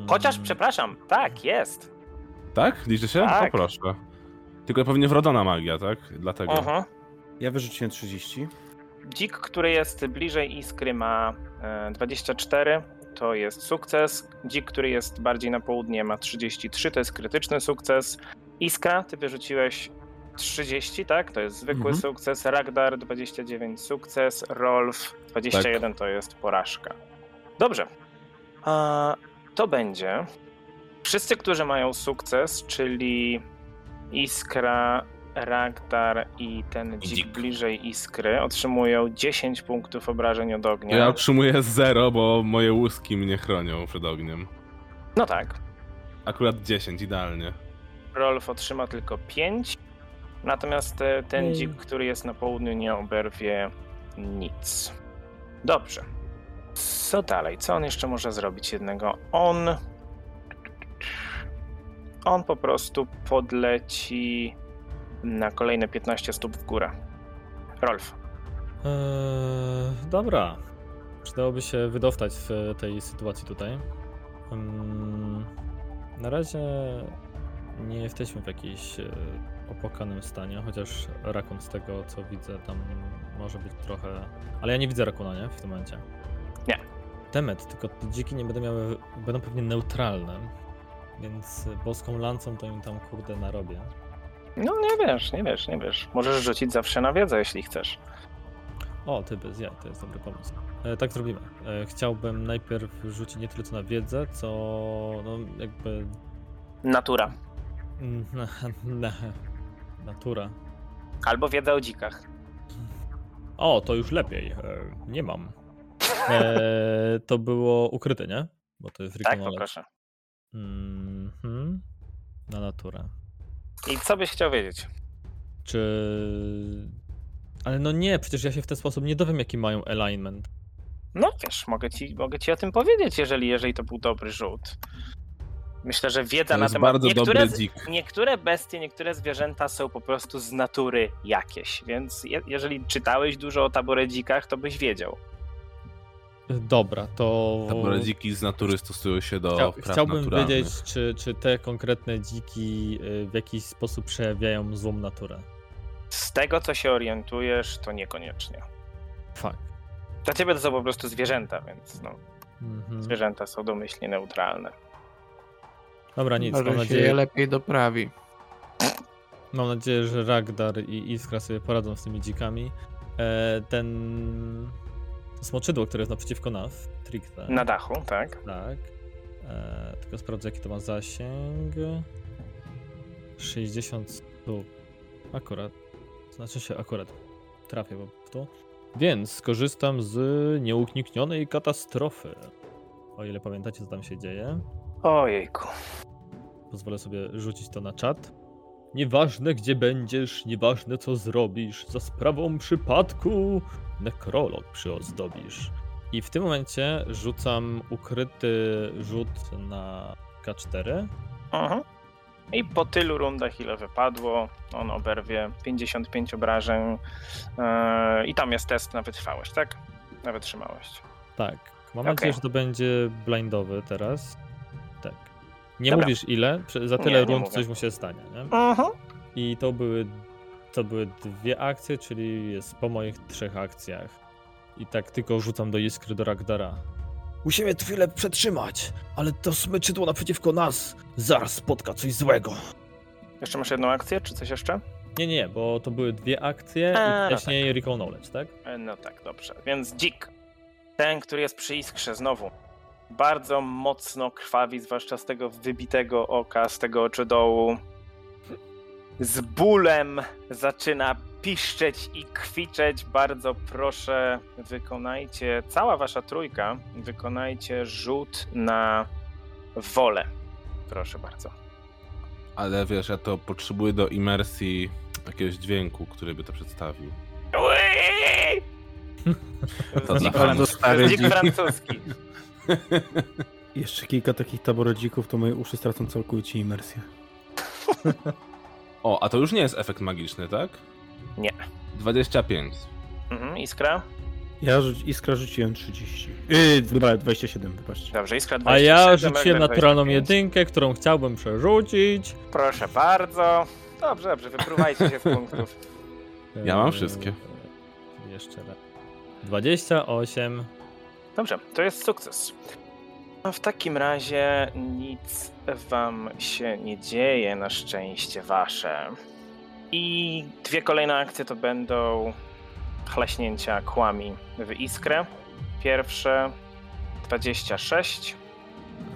Speaker 1: Chociaż,
Speaker 5: Mhm. Hmm.
Speaker 1: przepraszam, tak, jest.
Speaker 3: Tak? Liczy się?
Speaker 1: Tak.
Speaker 3: Poproszę. Tylko pewnie wrodzona magia, tak? Dlatego.
Speaker 1: Aha.
Speaker 2: Ja wyrzuciłem 30.
Speaker 1: Dzik, który jest bliżej Iskry ma e, 24, to jest sukces. Dzik, który jest bardziej na południe ma 33, to jest krytyczny sukces. Iskra, ty wyrzuciłeś 30, tak? To jest zwykły
Speaker 2: Mhm.
Speaker 1: sukces. Ragdar 29, sukces. Rolf 21, to jest porażka. Dobrze. A, to będzie. Wszyscy, którzy mają sukces, czyli Iskra, Ragdar i ten dzik,
Speaker 3: dzik.
Speaker 1: bliżej Iskry, otrzymują 10 punktów obrażeń od ognia.
Speaker 3: Ja otrzymuję 0, bo moje łuski mnie chronią przed ogniem.
Speaker 1: No tak.
Speaker 3: Akurat 10, idealnie.
Speaker 1: Rolf otrzyma tylko 5, natomiast e, ten
Speaker 5: Mm.
Speaker 1: dzik, który jest na południu, nie oberwie nic. Dobrze. Co dalej? Co on jeszcze może zrobić jednego? On. On po prostu podleci na kolejne 15 stóp w górę. Rolf.
Speaker 5: Eee, dobra. Przydałoby się wydostać z tej sytuacji tutaj. Ym, na razie nie jesteśmy w jakimś e, opłakanym stanie, chociaż rakun z tego co widzę tam może być trochę... Ale ja nie widzę rakuna, nie? W tym momencie.
Speaker 1: Nie.
Speaker 5: Temet, tylko te dziki nie będą miały... będą pewnie neutralne, więc boską lancą to im tam kurde narobię.
Speaker 1: No nie wiesz, nie wiesz, nie wiesz. Możesz rzucić zawsze na wiedzę, jeśli chcesz.
Speaker 5: O, ty bez jaj, to jest dobry pomysł. E, tak zrobimy. E, chciałbym najpierw rzucić nie tyle co na wiedzę, co no jakby
Speaker 1: Natura.
Speaker 5: mm, na, na, natura.
Speaker 1: Albo wiedza o dzikach. Tak,
Speaker 5: O, to już lepiej. E, nie mam. E, to było ukryte, nie? Bo to jest
Speaker 1: Tak,
Speaker 5: Rickonolec.
Speaker 1: poproszę.
Speaker 5: Mhm. Na naturę.
Speaker 1: I co byś chciał wiedzieć?
Speaker 5: Czy... Ale no nie, przecież ja się w ten sposób nie dowiem, jaki mają alignment.
Speaker 1: No wiesz, mogę ci, mogę ci o tym powiedzieć, jeżeli, jeżeli to był dobry rzut. Myślę, że wiedza
Speaker 3: To
Speaker 1: na
Speaker 3: jest
Speaker 1: temat.
Speaker 3: bardzo
Speaker 1: niektóre,
Speaker 3: dobry
Speaker 1: z-
Speaker 3: dzik.
Speaker 1: niektóre bestie, niektóre zwierzęta są po prostu z natury jakieś, więc je, jeżeli czytałeś dużo o taboredzikach, to byś wiedział.
Speaker 5: Dobra, to.
Speaker 3: Tabore dziki z natury stosują się do
Speaker 5: Chcia-
Speaker 3: praw
Speaker 5: Chciałbym
Speaker 3: naturalnych.
Speaker 5: wiedzieć, czy, czy te konkretne dziki y, w jakiś sposób przejawiają złą naturę.
Speaker 1: Z tego, co się orientujesz, to niekoniecznie.
Speaker 5: Fakt.
Speaker 1: Dla ciebie to są po prostu zwierzęta, więc no,
Speaker 5: Mhm.
Speaker 1: zwierzęta są domyślnie neutralne.
Speaker 5: Dobra, nic. Mam
Speaker 4: Może się je
Speaker 5: nadzieję,
Speaker 4: lepiej doprawi.
Speaker 5: mam nadzieję, że Ragdar i Iskra sobie poradzą z tymi dzikami. E, ten smoczydło, które jest naprzeciwko nas, Trikta.
Speaker 1: Na dachu, tak?
Speaker 5: Tak. E, tylko sprawdzę, jaki to ma zasięg. 60 stóp. Akurat. Znaczy się akurat trafię po to. Więc skorzystam z nieuniknionej katastrofy. O ile pamiętacie, co tam się dzieje.
Speaker 1: Ojejku.
Speaker 5: Pozwolę sobie rzucić to na czat. Nieważne gdzie będziesz, nieważne co zrobisz, za sprawą przypadku nekrolog przyozdobisz. I w tym momencie rzucam ukryty rzut na K4.
Speaker 1: Mhm. I po tylu rundach, ile wypadło, on oberwie 55 obrażeń. Yy, I tam jest test na wytrwałość, tak? Na wytrzymałość.
Speaker 5: Tak. Mam
Speaker 1: Okej.
Speaker 5: nadzieję, że to będzie blindowy teraz. Tak. Nie
Speaker 1: Dobra.
Speaker 5: mówisz ile, prze- za
Speaker 1: Nie,
Speaker 5: tyle
Speaker 1: nie
Speaker 5: rund
Speaker 1: mówię.
Speaker 5: coś mu się stanie. Nie?
Speaker 1: Mhm.
Speaker 5: I to były, to były dwie akcje, czyli jest po moich trzech akcjach. I tak tylko rzucam do iskry do Ragdara. Musimy chwilę przetrzymać, ale to smyczydło naprzeciwko nas zaraz spotka coś złego.
Speaker 1: Jeszcze masz jedną akcję, czy coś jeszcze?
Speaker 5: Nie, nie, bo to były dwie akcje
Speaker 1: A,
Speaker 5: i
Speaker 1: no
Speaker 5: wcześniej Recall Knowledge, tak?
Speaker 1: E, No tak, dobrze. Więc dzik, ten, który jest przy iskrze znowu, bardzo mocno krwawi, zwłaszcza z tego wybitego oka, z tego oczu dołu. Z bólem zaczyna piszczeć i kwiczeć. Bardzo proszę, wykonajcie, cała wasza trójka, wykonajcie rzut na wolę. Proszę bardzo.
Speaker 3: Ale wiesz, ja to potrzebuję do imersji jakiegoś dźwięku, który by to przedstawił.
Speaker 1: Ui!
Speaker 3: To
Speaker 1: Dzik,
Speaker 3: dla
Speaker 1: fran-
Speaker 3: bardzo stary
Speaker 1: dzik
Speaker 3: dzik.
Speaker 1: francuski.
Speaker 2: Jeszcze kilka takich taborodzików, to moje uszy stracą całkowicie imersję.
Speaker 3: O, a to już nie jest efekt magiczny, tak?
Speaker 1: Nie.
Speaker 3: 25.
Speaker 1: Mhm, iskra?
Speaker 2: Ja rzuc- iskra rzuciłem 30. Yy, dobra, 27, wybaczcie.
Speaker 1: Dobrze, iskra 27.
Speaker 5: A ja
Speaker 1: Magda
Speaker 5: rzuciłem naturalną
Speaker 1: 25.
Speaker 5: jedynkę, którą chciałbym przerzucić.
Speaker 1: Proszę bardzo. Dobrze, dobrze, wypruwajcie się z punktów.
Speaker 3: Ja mam wszystkie.
Speaker 5: Eee, Jeszcze raz. 28.
Speaker 1: Dobrze, to jest sukces. No w takim razie nic wam się nie dzieje, na szczęście wasze. I dwie kolejne akcje to będą chlaśnięcia kłami w iskrę. Pierwsze 26,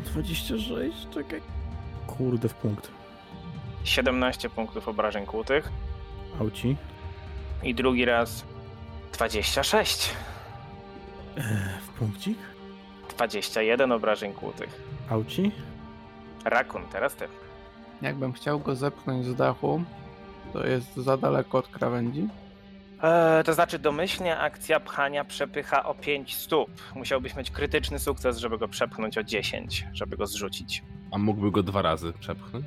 Speaker 2: 26, czekaj. Kurde, w punkt.
Speaker 1: 17 punktów obrażeń kłutych
Speaker 2: Auci.
Speaker 1: i drugi raz 26,
Speaker 2: E, w punkcik.
Speaker 1: 21 obrażeń kłutych.
Speaker 2: Auci.
Speaker 1: Rakun, teraz ty.
Speaker 4: Jakbym chciał go zepchnąć z dachu, to jest za daleko od krawędzi.
Speaker 1: E, to znaczy domyślnie akcja pchania przepycha o 5 stóp. Musiałbyś mieć krytyczny sukces, żeby go przepchnąć o 10, żeby go zrzucić.
Speaker 3: A mógłby go dwa razy przepchnąć?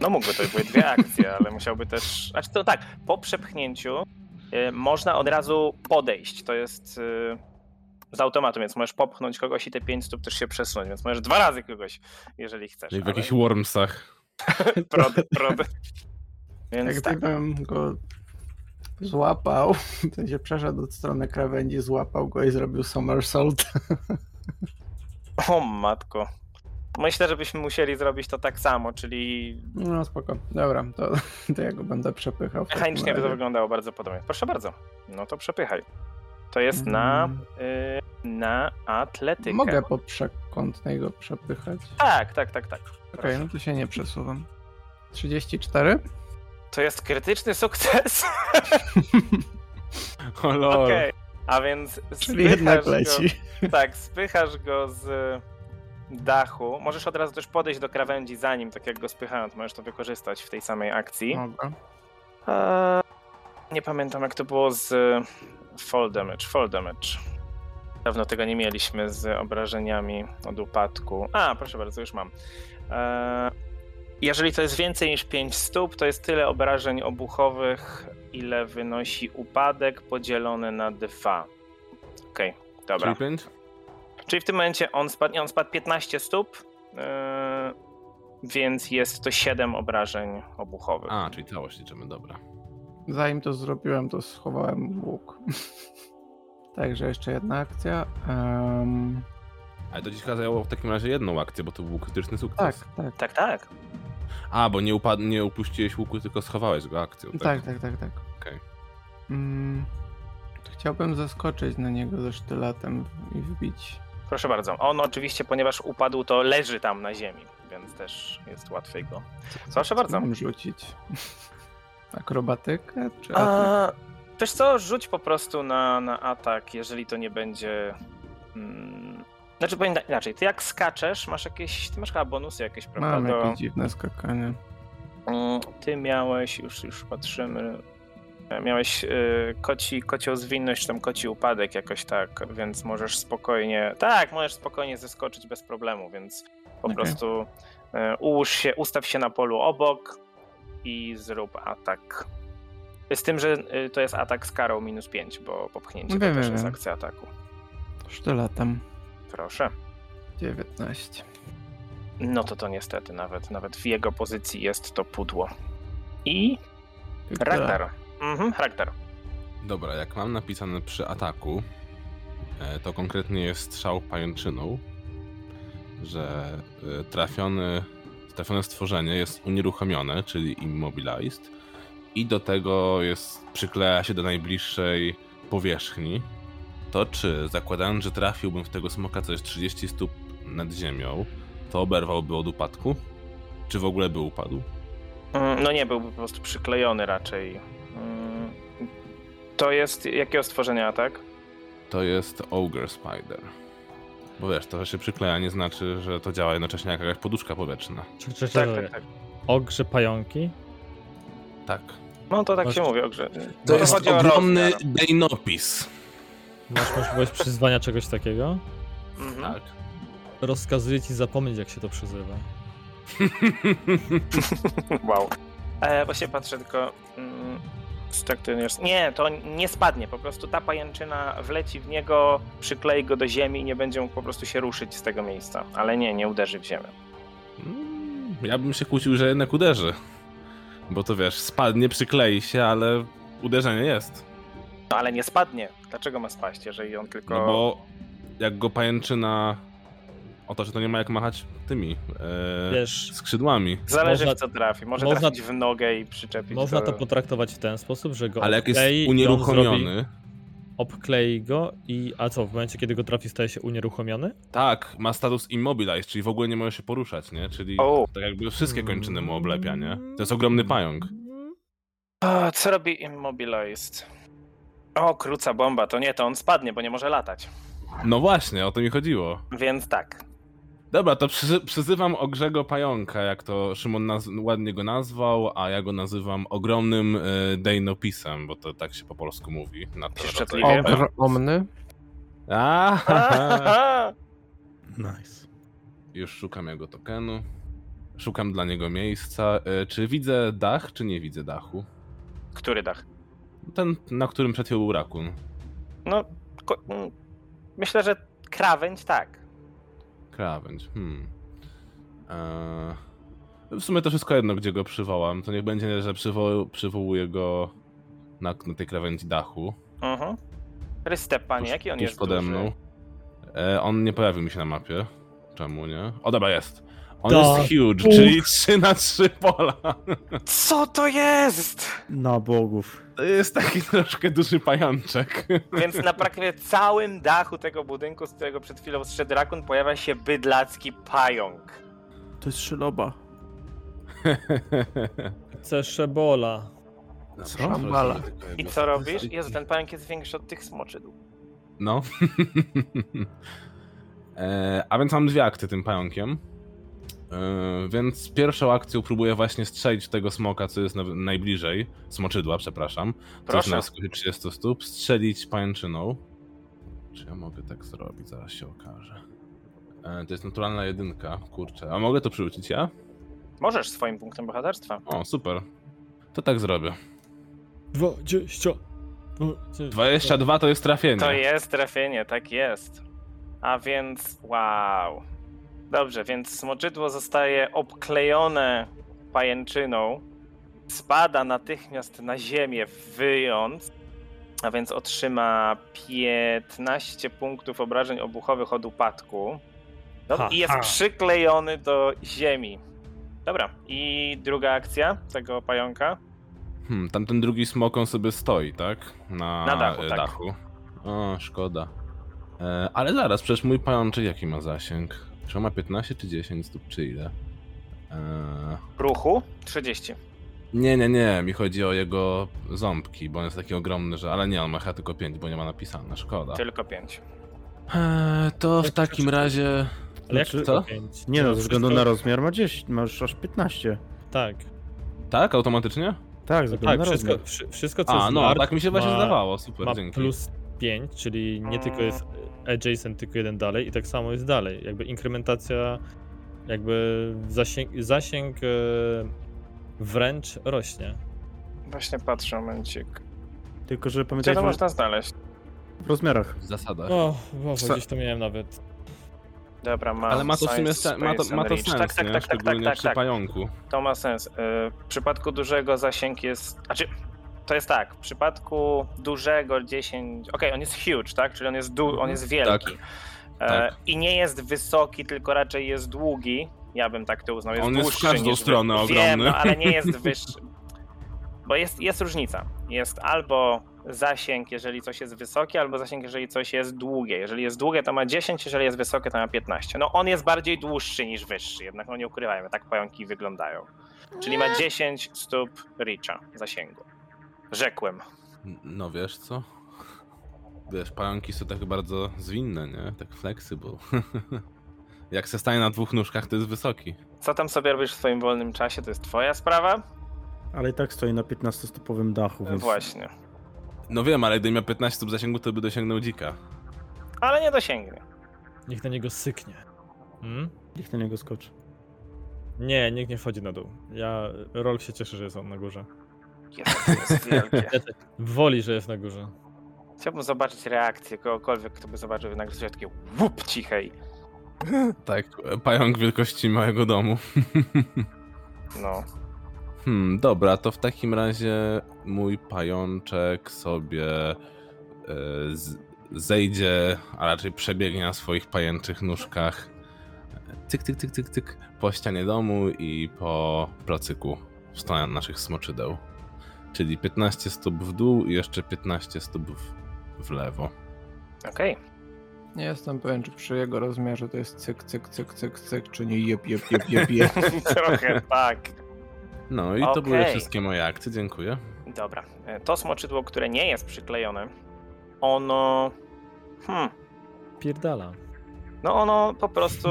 Speaker 1: No mógłby, to były dwie akcje, ale musiałby też... Znaczy to tak, po przepchnięciu e, można od razu podejść, to jest e, z automatu, więc możesz popchnąć kogoś i te 5 stóp też się przesunąć, więc możesz dwa razy kogoś, jeżeli chcesz.
Speaker 3: Jak w
Speaker 1: ale
Speaker 3: jakichś Wormsach.
Speaker 1: prody, prody. Więc tak.
Speaker 4: Jakbym go złapał, to się przeszedł od strony krawędzi, złapał go i zrobił somersault.
Speaker 1: O matko. Myślę, żebyśmy musieli zrobić to tak samo, czyli
Speaker 4: No spoko, dobra, to, to ja go będę przepychał. w takim
Speaker 1: Mechanicznie by to
Speaker 4: razie.
Speaker 1: wyglądało bardzo podobnie. Proszę bardzo. No to przepychaj. To jest na,
Speaker 4: Mm,
Speaker 1: y, na atletykę.
Speaker 4: Mogę po przekątnej go przepychać.
Speaker 1: Tak, tak, tak, tak.
Speaker 4: Okej,
Speaker 1: Proszę.
Speaker 4: no to się nie przesuwam. 34?
Speaker 1: To jest krytyczny sukces.
Speaker 3: O lol.
Speaker 1: Okej. A więc
Speaker 4: Czyli jednak
Speaker 1: spychasz
Speaker 4: leci.
Speaker 1: Go, tak, spychasz go z dachu. Możesz od razu też podejść do krawędzi za nim, tak jak go spychając. Możesz to wykorzystać w tej samej akcji.
Speaker 4: Dobra.
Speaker 1: Eee, nie pamiętam jak to było z e, fall damage, fall damage. Dawno tego nie mieliśmy z obrażeniami od upadku. A, proszę bardzo, już mam. Eee, jeżeli to jest więcej niż 5 stóp, to jest tyle obrażeń obuchowych, ile wynosi upadek podzielone na 2. Okej, dobra.
Speaker 3: Czyli pięć?
Speaker 1: Czyli w tym momencie on spadł, nie, on spadł 15 stóp, yy, więc jest to 7 obrażeń obuchowych.
Speaker 3: A, czyli całość liczymy, dobra.
Speaker 4: Zanim to zrobiłem, to schowałem łuk. Także jeszcze jedna akcja. Em,
Speaker 3: Ale to ci zajęło w takim razie jedną akcję, bo to był krytyczny
Speaker 4: tak,
Speaker 3: sukces.
Speaker 4: tak,
Speaker 1: Tak, tak.
Speaker 3: A, bo nie, upad- nie upuściłeś łuku, tylko schowałeś go akcją. Tak.
Speaker 4: tak, tak, tak, tak.
Speaker 3: Okej.
Speaker 4: Mm, to chciałbym zaskoczyć na niego ze sztyletem i wbić.
Speaker 1: Proszę bardzo. On oczywiście, ponieważ upadł, to leży tam na ziemi, więc też jest łatwiej go. Proszę
Speaker 4: Co
Speaker 1: bardzo.
Speaker 4: mam rzucić? Akrobatykę czy atak?
Speaker 1: A, wiesz co, rzuć po prostu na, na atak, jeżeli to nie będzie... Mm, znaczy, powiem tak- inaczej, ty jak skaczesz, masz jakieś, ty masz chyba bonusy jakieś, prawda?
Speaker 4: Mam
Speaker 1: do-
Speaker 4: jakieś dziwne skakanie.
Speaker 1: Mm, Ty miałeś, już, już patrzymy, e, miałeś y, koci, kocią zwinność, czy tam koci upadek jakoś tak, więc możesz spokojnie, tak, możesz spokojnie zeskoczyć bez problemu, więc po
Speaker 4: Okej.
Speaker 1: prostu e, ułóż się, ustaw się na polu obok i zrób atak. Z tym, że y, to jest atak z karą minus 5, bo popchnięcie
Speaker 4: No Wiem,
Speaker 1: to też
Speaker 4: wiem,
Speaker 1: jest
Speaker 4: wiem.
Speaker 1: akcja ataku.
Speaker 4: Sztyletem.
Speaker 1: Proszę.
Speaker 4: 19.
Speaker 1: No to to niestety nawet, nawet w jego pozycji jest to pudło. I
Speaker 4: Tak.
Speaker 1: Ragnar. Mhm, Ragnar.
Speaker 3: Dobra, jak mam napisane przy ataku, e, to konkretnie jest strzał pajęczyną, że e, trafiony, trafione stworzenie jest unieruchomione, czyli immobilized, i do tego jest przykleja się do najbliższej powierzchni. To czy zakładając, że trafiłbym w tego smoka, co jest 30 stóp nad ziemią, to oberwałby od upadku? Czy w ogóle by upadł?
Speaker 1: Mm, No nie, byłby po prostu przyklejony raczej. Mm, To jest jakiego stworzenia tak? atak?
Speaker 3: To jest Ogre Spider. Bo wiesz, to, że się przykleja nie znaczy, że to działa jednocześnie jak jakaś poduszka powietrzna.
Speaker 5: Czek, czek,
Speaker 1: Tak,
Speaker 5: czek,
Speaker 1: tak, tak.
Speaker 5: Ogrze pająki.
Speaker 3: Tak.
Speaker 1: No to tak
Speaker 5: Masz-
Speaker 1: się mówi, ogrze.
Speaker 3: To
Speaker 5: To
Speaker 3: jest
Speaker 1: chodzi o
Speaker 3: ogromny
Speaker 1: rozmiar.
Speaker 3: deinopis.
Speaker 5: Masz możliwość przyzwania czegoś takiego?
Speaker 1: Mhm.
Speaker 3: Tak.
Speaker 5: Rozkazuję ci zapomnieć, jak się to przyzywa.
Speaker 1: Wow. E, właśnie patrzę tylko. Mm, Structures- nie, to nie spadnie. Po prostu ta pajęczyna wleci w niego, przyklei go do ziemi i nie będzie mógł po prostu się ruszyć z tego miejsca. Ale nie, nie uderzy w ziemię.
Speaker 3: Mm, Ja bym się kłócił, że jednak uderzy. Bo to wiesz, spadnie, przyklei się, ale uderzenie jest.
Speaker 1: No ale nie spadnie. Dlaczego ma spaść, jeżeli on tylko.
Speaker 3: No bo jak go pajęczyna... O to, że to nie ma jak machać tymi e,
Speaker 5: Wiesz,
Speaker 3: skrzydłami.
Speaker 1: Zależy
Speaker 5: można-
Speaker 1: w co trafi. Może
Speaker 5: można-
Speaker 1: trafić w nogę i przyczepić
Speaker 5: można
Speaker 1: do...
Speaker 5: to potraktować w ten sposób, że go
Speaker 3: Ale jak jest
Speaker 5: obklei i on zrobi-
Speaker 3: unieruchomiony,
Speaker 5: Obklei go i... A co, w momencie, kiedy go trafi, staje się unieruchomiony?
Speaker 3: tak, ma status immobilized, czyli w ogóle nie może się poruszać, nie? Czyli
Speaker 1: O,
Speaker 3: Tak jakby wszystkie kończyny mu oblepia, nie? To jest ogromny pająk.
Speaker 1: A, co robi Immobilized? O, kruca bomba, to nie, to on spadnie, bo nie może latać.
Speaker 3: No właśnie, o to mi chodziło.
Speaker 1: Więc tak.
Speaker 3: Dobra, to przy, przyzywam ogrzego pająka, jak to Szymon naz- ładnie go nazwał, a ja go nazywam ogromnym y, dejnopisem, bo to tak się po polsku mówi. Na to
Speaker 1: Szczotliwie.
Speaker 3: rodzaj pająka.
Speaker 4: Ogromny.
Speaker 3: A, ha, ha.
Speaker 2: Nice.
Speaker 3: Już szukam jego tokenu. Szukam dla niego miejsca. Y, Czy widzę dach, czy nie widzę dachu?
Speaker 1: Który dach?
Speaker 3: Ten, na którym przed chwilą był rakun.
Speaker 1: No, ko- mm, myślę, że krawędź tak.
Speaker 3: Krawędź. Hmm. Eee, w sumie to wszystko jedno, gdzie go przywołam. To niech będzie, że przywo- przywołuję go na, na tej krawędzi dachu.
Speaker 1: Mhm. Rystep, panie,
Speaker 3: tuż-
Speaker 1: jaki on
Speaker 3: tuż
Speaker 1: jest
Speaker 3: pode
Speaker 1: duży?
Speaker 3: mną. Eee, on nie pojawił mi się na mapie. Czemu nie? O dobra, jest. On
Speaker 5: Tak.
Speaker 3: jest huge, czyli 3 na 3 pola.
Speaker 1: Co to jest?
Speaker 2: Na bogów.
Speaker 3: To jest taki troszkę duży pajączek.
Speaker 1: Więc na praktycznie całym dachu tego budynku, z którego przed chwilą zszedł rakun, pojawia się bydlacki pająk.
Speaker 2: To jest szyloba.
Speaker 5: Ceszebola.
Speaker 4: Szambala.
Speaker 1: I co robisz? Jezu, ten pająk jest większy od tych smoczydł.
Speaker 3: No. e, a więc mam dwie akty tym pająkiem. E, więc pierwszą akcją próbuję właśnie strzelić w tego smoka, co jest na, najbliżej. Smoczydła, przepraszam. Co jest
Speaker 1: Proszę.
Speaker 3: na wysokości 30 stóp. Strzelić pajęczyną. Czy ja mogę tak zrobić? Zaraz się okaże. E, to jest naturalna jedynka, kurczę. A mogę to przywrócić ja?
Speaker 1: Możesz swoim punktem bohaterstwa.
Speaker 3: O, super. To tak zrobię.
Speaker 5: Dwadzieścia.
Speaker 3: 22 to jest trafienie.
Speaker 1: To jest trafienie, tak jest. A więc wow. Dobrze, więc smoczydło zostaje obklejone pajęczyną. Spada natychmiast na ziemię, wyjąc. A więc otrzyma 15 punktów obrażeń obuchowych od upadku. No,
Speaker 5: Ha,
Speaker 1: I jest
Speaker 5: ha.
Speaker 1: przyklejony do ziemi. Dobra, i druga akcja tego pająka.
Speaker 3: Hmm, tamten drugi smok on sobie stoi, tak? Na,
Speaker 1: Na dachu,
Speaker 3: e,
Speaker 1: tak.
Speaker 3: dachu. O, szkoda. E, ale zaraz, przecież mój pajączek jaki ma zasięg? Czy on ma 15 czy 10 stóp, czy ile? E,
Speaker 1: Ruchu 30.
Speaker 3: nie, nie, nie, mi chodzi o jego ząbki, bo on jest taki ogromny, że... Ale nie, on ma chyba tylko 5, bo nie ma napisane,
Speaker 5: Tak.
Speaker 3: szkoda.
Speaker 1: Tylko 5.
Speaker 3: E, to w
Speaker 5: Jak
Speaker 3: takim
Speaker 5: przeczytać?
Speaker 3: razie...
Speaker 5: Ale jak
Speaker 2: Znaczy,
Speaker 5: tylko
Speaker 3: co?
Speaker 5: pięć?
Speaker 2: Nie no,
Speaker 5: To
Speaker 2: ze względu
Speaker 5: wszystko-
Speaker 2: na rozmiar ma 10, masz aż 15.
Speaker 5: Tak,
Speaker 3: Tak, automatycznie?
Speaker 2: Tak, ze względu
Speaker 5: tak,
Speaker 2: na
Speaker 5: wszystko,
Speaker 2: rozmiar.
Speaker 5: wszy- wszystko co
Speaker 3: A,
Speaker 5: jest
Speaker 3: no,
Speaker 5: martw,
Speaker 3: tak mi się właśnie
Speaker 5: ma-
Speaker 3: zdawało, super,
Speaker 5: ma
Speaker 3: dzięki.
Speaker 5: plus 5, czyli nie tylko jest adjacent, tylko jeden dalej i tak samo jest dalej. Jakby inkrementacja, jakby zasięg, zasięg e, wręcz rośnie.
Speaker 1: Właśnie patrzę, momencik.
Speaker 2: Tylko, że
Speaker 1: Gdzie
Speaker 3: No
Speaker 2: pamiętaj,
Speaker 1: to
Speaker 2: że
Speaker 1: można znaleźć?
Speaker 2: w rozmiarach.
Speaker 3: W zasadach.
Speaker 1: No,
Speaker 5: O, Boże,
Speaker 3: Tak. Sa-
Speaker 5: gdzieś to miałem nawet.
Speaker 1: Dobra, ma
Speaker 3: Ale ma to w sumie
Speaker 1: sens,
Speaker 3: se- ma to,
Speaker 1: space
Speaker 3: ma
Speaker 1: and
Speaker 3: to
Speaker 1: reach.
Speaker 3: sens,
Speaker 1: Tak, tak,
Speaker 3: nie?
Speaker 1: tak, tak, tak,
Speaker 3: Szczególnie
Speaker 1: tak,
Speaker 3: przy
Speaker 1: tak.
Speaker 3: pająku.
Speaker 1: To ma sens. Y, W przypadku dużego zasięg jest. Znaczy, to jest tak. W przypadku dużego 10. Okej, on jest huge, tak? Czyli on jest, du... on jest wielki. E,
Speaker 3: Mhm. tak.
Speaker 1: I nie jest wysoki, tylko raczej jest długi. Ja bym tak to uznał. Jest
Speaker 3: On jest w
Speaker 1: dłuższy
Speaker 3: każdą
Speaker 1: niż wy-
Speaker 3: stronę
Speaker 1: Wiem,
Speaker 3: ogromny.
Speaker 1: no, ale nie jest wyższy. Bo jest, jest różnica. Jest albo zasięg, jeżeli coś jest wysokie, albo zasięg, jeżeli coś jest długie. Jeżeli jest długie, to ma 10, jeżeli jest wysokie, to ma 15. No on jest bardziej dłuższy niż wyższy, jednak no nie ukrywajmy, tak pająki wyglądają. Czyli ma 10 stóp reacha zasięgu. Rzekłem.
Speaker 3: No wiesz co? Wiesz, pająki są tak bardzo zwinne, nie? Tak flexible. Jak se stanie na dwóch nóżkach, to jest wysoki.
Speaker 1: Co tam sobie robisz w swoim wolnym czasie, to jest twoja sprawa?
Speaker 2: Ale i tak stoi na 15-stopowym dachu, więc...
Speaker 1: E, Właśnie.
Speaker 3: No wiem, ale gdybym miał 15 stóp zasięgu, to by dosięgnął dzika.
Speaker 1: Ale nie dosięgnie.
Speaker 5: Niech na niego syknie. Hmm?
Speaker 2: Niech na niego skoczy.
Speaker 5: Nie, nikt nie wchodzi na dół. Ja, Rol się cieszy, że jest on na górze.
Speaker 1: Jezu, to jest wielkie.
Speaker 5: Woli, że jest na górze.
Speaker 1: Chciałbym zobaczyć reakcję kogokolwiek, kto by zobaczył nagle coś takiego łup cichej.
Speaker 3: Tak, pająk wielkości małego domu.
Speaker 1: No.
Speaker 3: Hmm, dobra, to w takim razie mój pajączek sobie e, z, zejdzie, a raczej przebiegnie na swoich pajęczych nóżkach. Cyk, cyk, cyk, cyk, cyk. Po ścianie domu i po placyku w stronę naszych smoczydeł. Czyli 15 stóp w dół i jeszcze 15 stóp w, w lewo.
Speaker 1: Okej.
Speaker 4: Nie jestem pewien, czy przy jego rozmiarze to jest cyk, cyk, cyk, cyk, cyk, czy nie jeb, jeb, jeb, jeb, jeb.
Speaker 1: Trochę tak.
Speaker 3: No i to były
Speaker 1: Okej.
Speaker 3: wszystkie moje akcje, dziękuję.
Speaker 1: Dobra. E, To smoczydło, które nie jest przyklejone, ono. Hmm.
Speaker 5: Pierdala.
Speaker 1: No ono po prostu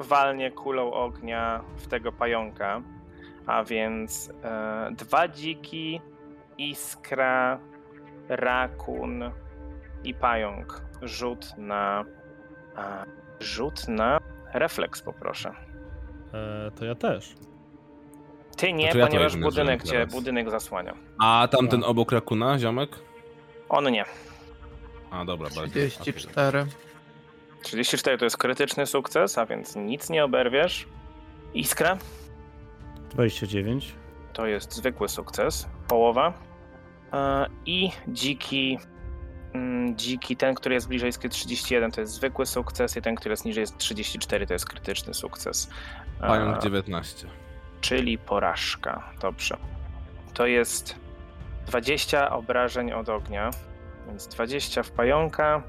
Speaker 1: walnie kulą ognia w tego pająka. A więc e, dwa dziki, iskra, rakun i pająk. Rzut na. E, rzut na refleks, poproszę.
Speaker 5: E, to ja też.
Speaker 1: Ty nie,
Speaker 3: Znaczy ja to
Speaker 1: ponieważ
Speaker 3: jedyny
Speaker 1: budynek
Speaker 3: wziąłem
Speaker 1: cię
Speaker 3: teraz.
Speaker 1: budynek zasłania.
Speaker 3: A tamten obok Rakuna, ziomek?
Speaker 1: On nie.
Speaker 3: A dobra, bardziej. okej.
Speaker 4: 34.
Speaker 1: 34 to jest krytyczny sukces, a więc nic nie oberwiesz. Iskra
Speaker 2: 29.
Speaker 1: to jest zwykły sukces, połowa. E, I dziki, mm, dziki, ten, który jest bliżej jest 31 to jest zwykły sukces i ten, który jest niżej jest 34 to jest krytyczny sukces. E,
Speaker 3: Pająk 19.
Speaker 1: Czyli porażka. Dobrze. To jest 20 obrażeń od ognia, więc 20 w pająka,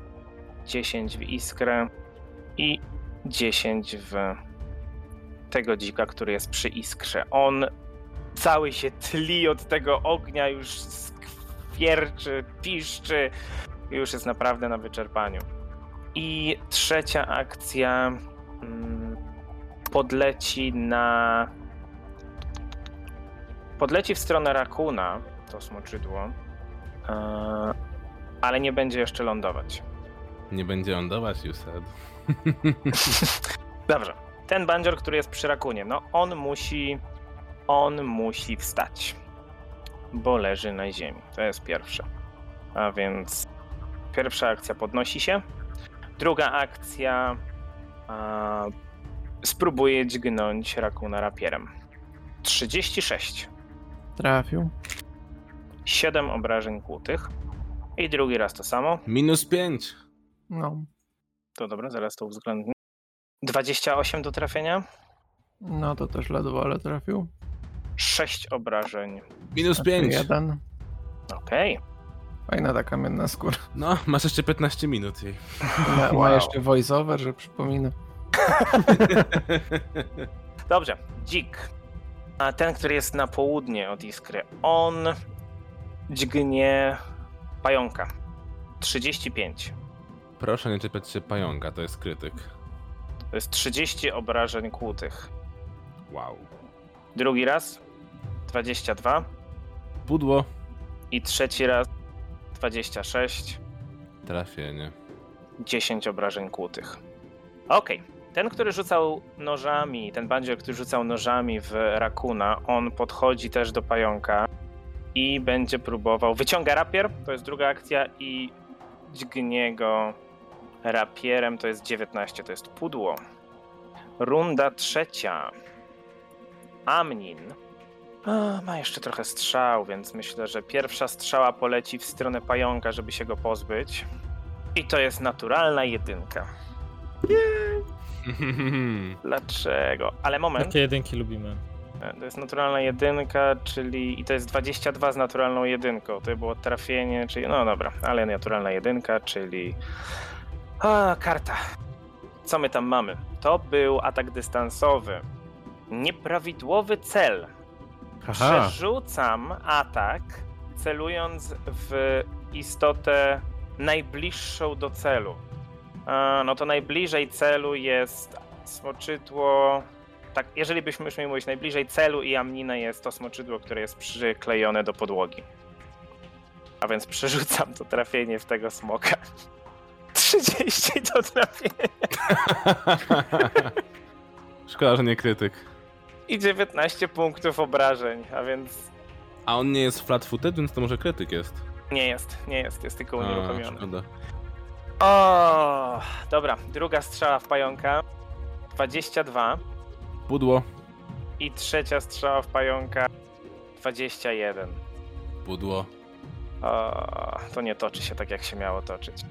Speaker 1: 10 w iskrę i 10 w tego dzika, który jest przy iskrze. On cały się tli od tego ognia, już skwierczy, piszczy, już jest naprawdę na wyczerpaniu. I trzecia akcja mm, podleci na podleci w stronę rakuna, to smoczydło, e, ale nie będzie jeszcze lądować.
Speaker 3: Nie będzie on dawać, you said.
Speaker 1: Dobrze. Ten bandzior, który jest przy rakunie, no on musi, on musi wstać, bo leży na ziemi. To jest pierwsze. A więc pierwsza akcja podnosi się. Druga akcja. A, spróbuję dźgnąć rakuna rapierem. 36.
Speaker 4: Trafił.
Speaker 1: 7 obrażeń kłutych. I drugi raz to samo.
Speaker 3: Minus 5.
Speaker 4: No.
Speaker 1: To dobra, zaraz to uwzględnię. 28 do trafienia.
Speaker 4: No to też ledwo, ale trafił.
Speaker 1: 6 obrażeń.
Speaker 3: Minus
Speaker 4: Znaczy
Speaker 3: 5.
Speaker 4: Jeden.
Speaker 1: Okej.
Speaker 4: Fajna ta kamienna skóra.
Speaker 3: No, masz jeszcze 15 minut jej.
Speaker 4: Ma, ma
Speaker 1: Wow.
Speaker 4: jeszcze voiceover, że przypomina.
Speaker 1: Dobrze. Dzik. A ten, który jest na południe od iskry, on dźgnie pająka. 35.
Speaker 3: Proszę nie czepiać się pająka, to jest krytyk.
Speaker 1: To jest 30 obrażeń kłutych.
Speaker 3: Wow.
Speaker 1: Drugi raz 22
Speaker 3: Pudło.
Speaker 1: i trzeci raz 26,
Speaker 3: Trafienie.
Speaker 1: 10 obrażeń kłutych. Okej. Ten, który rzucał nożami, ten bandzior, który rzucał nożami w rakuna, on podchodzi też do pająka i będzie próbował. Wyciąga rapier, to jest druga akcja, i dźgnie go rapierem, to jest 19, to jest pudło. Runda trzecia. Amnin. A, ma jeszcze trochę strzał, więc myślę, że pierwsza strzała poleci w stronę pająka, żeby się go pozbyć. I to jest naturalna jedynka. Dlaczego? Ale moment.
Speaker 5: Takie jedynki lubimy.
Speaker 1: E, To jest naturalna jedynka, czyli. I to jest 22 z naturalną jedynką. To było trafienie, czyli. No dobra, ale naturalna jedynka, czyli. A, karta. Co my tam mamy? To był atak dystansowy. Nieprawidłowy cel.
Speaker 2: Haha,
Speaker 1: Przerzucam atak, celując w istotę najbliższą do celu. A, no to najbliżej celu jest smoczydło. Tak, jeżeli byśmy już mieli mówić najbliżej celu i amnina jest to smoczydło, które jest przyklejone do podłogi. A więc przerzucam to trafienie w tego smoka. 30 to trafienie
Speaker 3: Szkoda, że nie krytyk.
Speaker 1: i 19 punktów obrażeń, a więc
Speaker 3: A on nie jest flat footed, więc to może krytyk jest.
Speaker 1: nie jest, nie jest, jest tylko
Speaker 3: A,
Speaker 1: unieruchomiony.
Speaker 3: szkoda.
Speaker 1: O, dobra, druga strzała w pająka. 22
Speaker 3: Pudło.
Speaker 1: i trzecia strzała w pająka. 21.
Speaker 3: Pudło.
Speaker 1: O, to nie toczy się tak, jak się miało toczyć.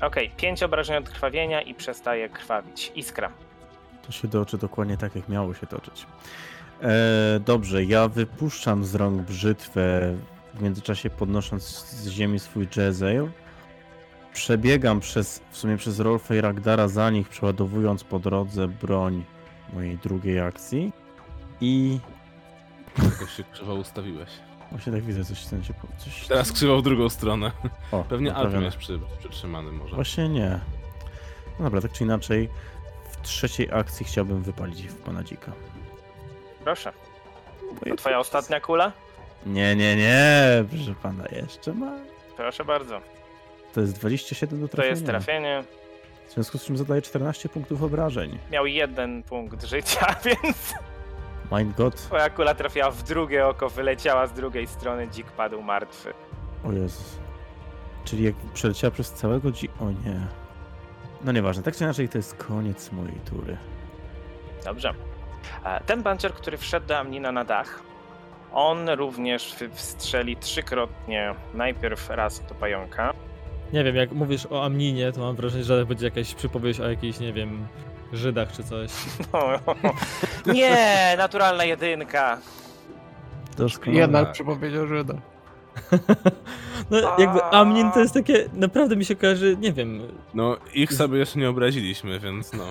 Speaker 1: Okej, 5 obrażeń od krwawienia i przestaje krwawić. Iskra.
Speaker 2: to się toczy dokładnie tak, jak miało się toczyć. E, dobrze, ja wypuszczam z rąk brzytwę, w międzyczasie podnosząc z ziemi swój jezail. Przebiegam przez, w sumie przez Rolfa i Ragdara za nich, przeładowując po drodze broń mojej drugiej akcji. I
Speaker 3: Jakoś się krzywo ustawiłeś.
Speaker 2: właśnie tak widzę, coś w sensie... Coś...
Speaker 3: Teraz krzywo w drugą stronę.
Speaker 2: o,
Speaker 3: Tak, Pewnie Alpin
Speaker 2: naprawione.
Speaker 3: jest przy, przytrzymany może.
Speaker 2: Właśnie nie. No dobra, tak czy inaczej, w trzeciej akcji chciałbym wypalić w pana dzika.
Speaker 1: Proszę.
Speaker 2: Bo
Speaker 1: To
Speaker 2: ja-
Speaker 1: twoja ostatnia kula?
Speaker 2: Nie, nie, nie, proszę pana, jeszcze ma.
Speaker 1: Proszę bardzo.
Speaker 2: To jest 27 do
Speaker 1: To
Speaker 2: trafienia.
Speaker 1: jest trafienie.
Speaker 2: W związku z czym zadaje 14 punktów obrażeń.
Speaker 1: Miał jeden punkt życia, więc
Speaker 2: My god,
Speaker 1: twoja kula trafiła w drugie oko, wyleciała z drugiej strony, dzik padł martwy.
Speaker 2: o Jezus. Czyli jak przeleciała przez całego dzi... O nie. No nieważne, tak czy inaczej to jest koniec mojej tury.
Speaker 1: Dobrze. E, Ten bancer, który wszedł do Amnina na dach, on również wy- wstrzeli trzykrotnie. Najpierw raz do pająka.
Speaker 5: Nie wiem, jak mówisz o Amninie, to mam wrażenie, że będzie jakaś przypowieść o jakichś, nie wiem, Żydach czy coś.
Speaker 1: Nie, naturalna jedynka.
Speaker 2: Doskonale.
Speaker 4: Jednak
Speaker 3: tak.
Speaker 4: przypowiedział Żyda.
Speaker 5: No jakby Amnin to jest takie, naprawdę mi się kojarzy, nie wiem,
Speaker 3: No, ich sobie jeszcze nie obraziliśmy, więc no.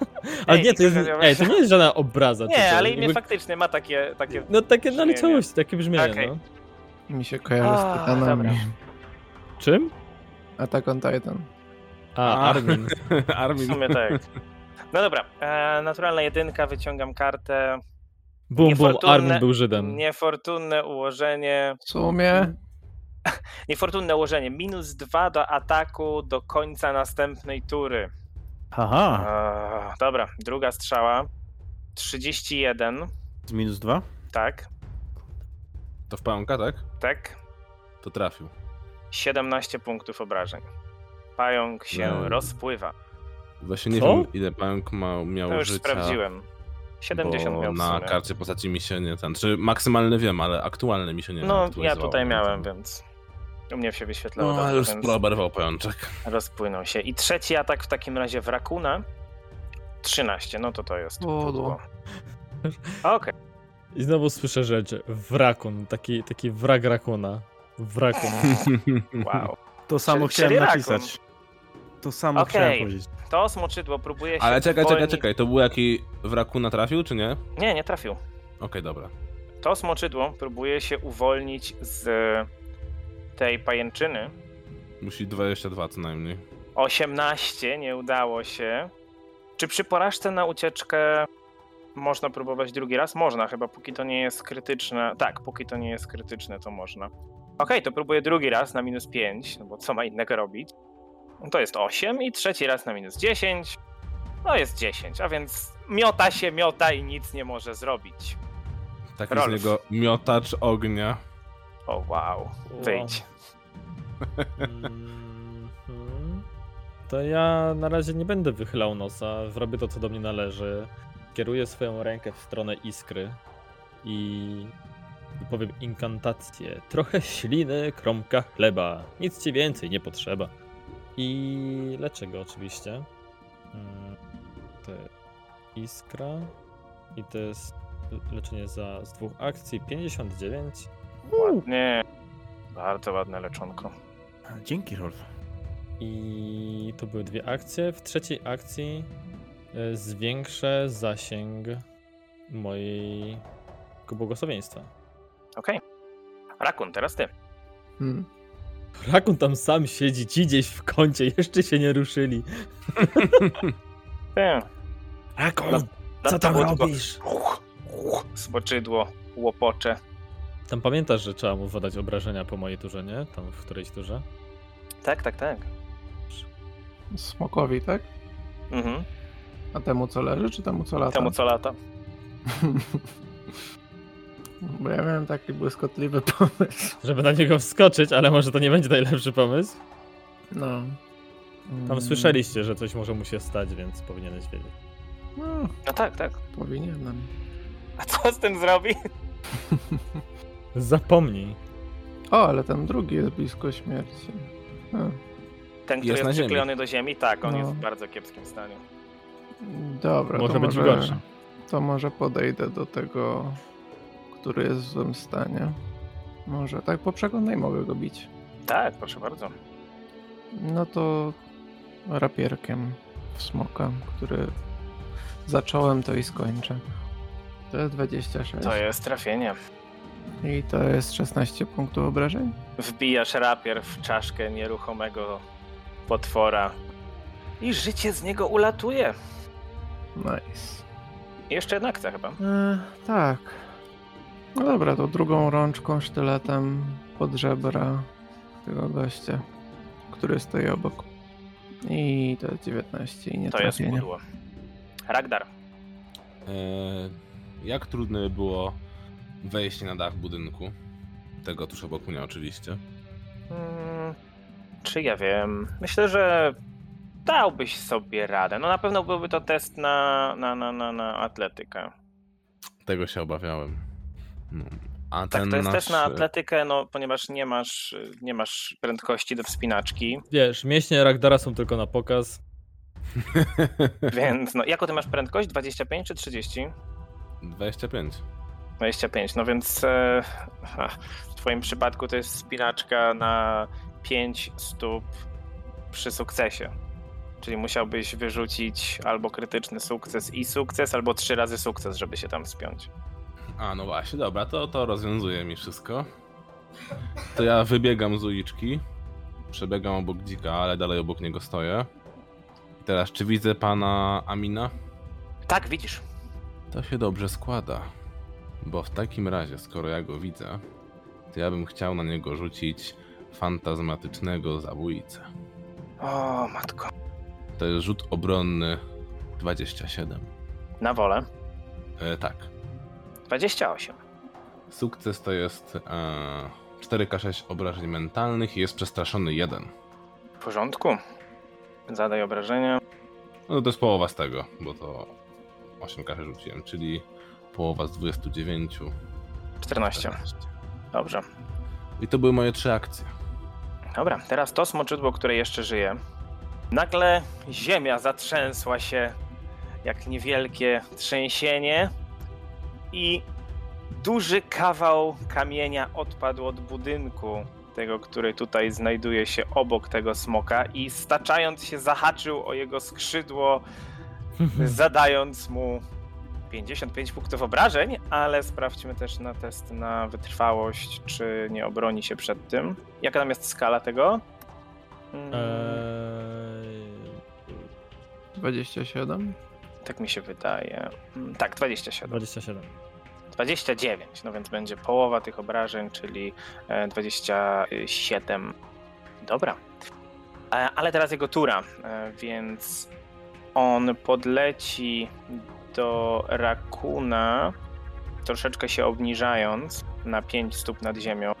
Speaker 5: ale
Speaker 1: Ej,
Speaker 5: nie, to jest,
Speaker 1: kojarzyłeś?
Speaker 5: ej, to nie jest żadna obraza. czy
Speaker 1: Nie,
Speaker 5: coś,
Speaker 1: ale imię
Speaker 5: jakby-
Speaker 1: faktycznie ma takie. takie...
Speaker 5: No takie
Speaker 1: brzmienie.
Speaker 5: naleciałość, takie brzmienie,
Speaker 1: Okej.
Speaker 5: no.
Speaker 4: Mi się kojarzy
Speaker 1: A,
Speaker 4: z Titanami.
Speaker 1: dobra.
Speaker 5: Czym?
Speaker 4: Attack on Titan.
Speaker 5: A,
Speaker 3: A.
Speaker 5: Armin.
Speaker 1: W
Speaker 3: Armin.
Speaker 1: sumie tak. No dobra, e, naturalna jedynka, wyciągam kartę.
Speaker 5: Bum, bum,
Speaker 1: Niefortunne-
Speaker 5: Armin był Żydem.
Speaker 1: Niefortunne ułożenie.
Speaker 4: W sumie
Speaker 1: Niefortunne ułożenie. Minus dwa do ataku do końca następnej tury.
Speaker 2: Haha,
Speaker 1: Eee, dobra, druga strzała. 31,
Speaker 2: z minus dwa?
Speaker 1: tak,
Speaker 3: To w pająka, tak?
Speaker 1: tak.
Speaker 3: To trafił.
Speaker 1: 17 punktów obrażeń. Pająk się
Speaker 3: No.
Speaker 1: rozpływa.
Speaker 3: Właśnie nie
Speaker 5: Co?
Speaker 3: wiem, ile pająk ma, miał
Speaker 1: To już
Speaker 3: życia.
Speaker 1: sprawdziłem. 70
Speaker 3: bo
Speaker 1: miał w
Speaker 3: na
Speaker 1: sumie.
Speaker 3: karcie postaci mi się nie ten. Czy maksymalny wiem, ale aktualny mi się nie
Speaker 1: No, ja
Speaker 3: aktualizował,
Speaker 1: tutaj
Speaker 3: więc-
Speaker 1: miałem, więc u mnie się wyświetlało.
Speaker 3: No,
Speaker 1: dobrze,
Speaker 3: ale już
Speaker 1: więc
Speaker 3: oberwał pajączek.
Speaker 1: rozpłynął się. I trzeci atak w takim razie w Rakuna. 13, no to to jest
Speaker 4: O, no.
Speaker 1: pudło. Okej,
Speaker 5: I znowu słyszę rzeczy. Wrakun, taki, taki wrak rakuna. Wrakun.
Speaker 1: wow.
Speaker 2: To samo
Speaker 1: Czyli- czyli
Speaker 2: chciałem
Speaker 1: rakun.
Speaker 2: napisać. To samo
Speaker 1: Okej.
Speaker 2: chciałem powiedzieć.
Speaker 1: To smoczydło próbuje się
Speaker 3: Ale czekaj, czekaj,
Speaker 1: zwolnić-
Speaker 3: czekaj, to był jaki w rakuna trafił, czy nie? Okej,
Speaker 1: Nie, nie trafił.
Speaker 3: dobra.
Speaker 1: To smoczydło próbuje się uwolnić z tej pajęczyny.
Speaker 3: Musi 22 co najmniej.
Speaker 1: 18 nie udało się. Czy przy porażce na ucieczkę można próbować drugi raz? Można, chyba póki to nie jest krytyczne. Tak, póki to nie jest krytyczne, to można. Okej, to próbuję drugi raz na minus 5, no bo co ma innego robić? No to jest 8 i trzeci raz na minus 10. No jest 10, a więc miota się miota i nic nie może zrobić.
Speaker 3: Taki
Speaker 1: Rolf.
Speaker 3: z niego Tak miotacz ognia.
Speaker 1: O wow, wyjdź.
Speaker 5: Mhm. To ja na razie nie będę wychylał nosa, robię to, co do mnie należy. Kieruję swoją rękę w stronę iskry i powiem inkantację. Trochę śliny, kromka chleba. Nic ci więcej nie potrzeba. I leczę go oczywiście. Mm, To iskra i to jest leczenie za z dwóch akcji 59.
Speaker 1: Ładnie. Bardzo ładne leczonko.
Speaker 2: A, Dzięki, Rolf.
Speaker 5: I to były dwie akcje. W trzeciej akcji y, zwiększę zasięg mojej błogosławieństwa.
Speaker 1: Okej. Rakun, teraz ty.
Speaker 4: Hmm.
Speaker 5: Rakun tam sam siedzi, ci gdzieś w kącie, jeszcze się nie ruszyli.
Speaker 1: Ty. No,
Speaker 5: Rakun, co tam
Speaker 1: Dlatego tylko
Speaker 5: robisz?
Speaker 1: Uch, uch, Spoczydło, łopocze.
Speaker 5: Tam pamiętasz, że trzeba mu wydać obrażenia po mojej turze, nie? Tam w którejś turze.
Speaker 1: Tak, tak, tak.
Speaker 4: Smokowi, tak?
Speaker 1: Mhm.
Speaker 4: A temu co leży, czy temu co lata?
Speaker 1: Temu co lata.
Speaker 4: Bo ja miałem taki błyskotliwy pomysł.
Speaker 5: Żeby na niego wskoczyć, ale może to nie będzie najlepszy pomysł.
Speaker 4: No. Mm.
Speaker 5: Tam słyszeliście, że coś może mu się stać, więc powinieneś wiedzieć.
Speaker 4: No,
Speaker 1: No tak, tak.
Speaker 4: powinienem.
Speaker 1: A co z tym zrobi?
Speaker 5: Zapomnij.
Speaker 4: O, ale ten drugi jest blisko śmierci. A,
Speaker 1: Ten, który
Speaker 3: Jest
Speaker 1: jest,
Speaker 3: na ziemi.
Speaker 1: przyklejony do ziemi, tak, on
Speaker 4: No.
Speaker 1: jest w bardzo kiepskim stanie.
Speaker 4: Dobra,
Speaker 5: Może
Speaker 4: to
Speaker 5: być
Speaker 4: może,
Speaker 5: gorszy.
Speaker 4: To może podejdę do tego, który jest w złym stanie. Może, tak po przeglądnej mogę go bić.
Speaker 1: Tak, proszę bardzo.
Speaker 4: No to rapierkiem w smoka, który zacząłem to i skończę. To jest 26.
Speaker 1: To jest trafienie.
Speaker 4: I to jest 16 punktów obrażeń?
Speaker 1: Wbijasz rapier w czaszkę nieruchomego potwora i życie z niego ulatuje.
Speaker 4: Nice.
Speaker 1: I Jeszcze jedna akcja chyba.
Speaker 4: E, tak. No dobra, to drugą rączką, sztyletem pod żebra tego gościa, który stoi obok. I to jest 19 i nie
Speaker 1: To jest
Speaker 4: trafienie.
Speaker 1: pudło. Ragdar.
Speaker 3: Eee, jak trudno by było wejść na dach budynku? Tego tuż obok mnie oczywiście.
Speaker 1: Mm, Czy ja wiem? Myślę, że dałbyś sobie radę. No na pewno byłby to test na, na, na, na, na atletykę.
Speaker 3: Tego się obawiałem. No. A
Speaker 1: Tak,
Speaker 3: ten
Speaker 1: to jest
Speaker 3: nasz... e,
Speaker 1: test na atletykę, no ponieważ nie masz, nie masz prędkości do wspinaczki,
Speaker 5: Wiesz, mięśnie Ragdara są tylko na pokaz.
Speaker 1: więc no jaką ty masz prędkość? 25 czy 30?
Speaker 3: e, 25.
Speaker 1: 25, no więc e, ha, w twoim przypadku to jest wspinaczka na 5 stóp przy sukcesie. Czyli musiałbyś wyrzucić albo krytyczny sukces i sukces, albo trzy razy sukces, żeby się tam spiąć.
Speaker 3: A no właśnie, dobra, to, to rozwiązuje mi wszystko. To ja wybiegam z uliczki, przebiegam obok dzika, ale dalej obok niego stoję. Teraz, czy widzę pana Amina?
Speaker 1: Tak, widzisz.
Speaker 3: To się dobrze składa, bo w takim razie, skoro ja go widzę, to ja bym chciał na niego rzucić fantazmatycznego zabójcę.
Speaker 1: O, matko.
Speaker 3: To jest rzut obronny 27.
Speaker 1: Na wolę.
Speaker 3: E, tak,
Speaker 1: 28.
Speaker 3: sukces to jest e, 4K6 obrażeń mentalnych i jest przestraszony jeden.
Speaker 1: W porządku. Zadaj obrażenia.
Speaker 3: No to jest połowa z tego, bo to 8 kaszy rzuciłem, czyli połowa z 29.
Speaker 1: 14.
Speaker 3: 14.
Speaker 1: Dobrze.
Speaker 3: I to były moje trzy akcje.
Speaker 1: Dobra, teraz to smoczydło, które jeszcze żyje. Nagle ziemia zatrzęsła się jak niewielkie trzęsienie i duży kawał kamienia odpadł od budynku tego, który tutaj znajduje się obok tego smoka i staczając się zahaczył o jego skrzydło, zadając mu 55 punktów obrażeń, ale sprawdźmy też na test na wytrwałość, czy nie obroni się przed tym. Jaka tam jest skala tego? Mm,
Speaker 5: E, Eee,
Speaker 4: 27?
Speaker 1: Tak mi się wydaje. Mm, Tak, 27.
Speaker 5: 27.
Speaker 1: 29, no więc będzie połowa tych obrażeń, czyli e, 27. Dobra. E, Ale teraz jego tura, e, więc on podleci do rakuna, troszeczkę się obniżając na 5 stóp nad ziemią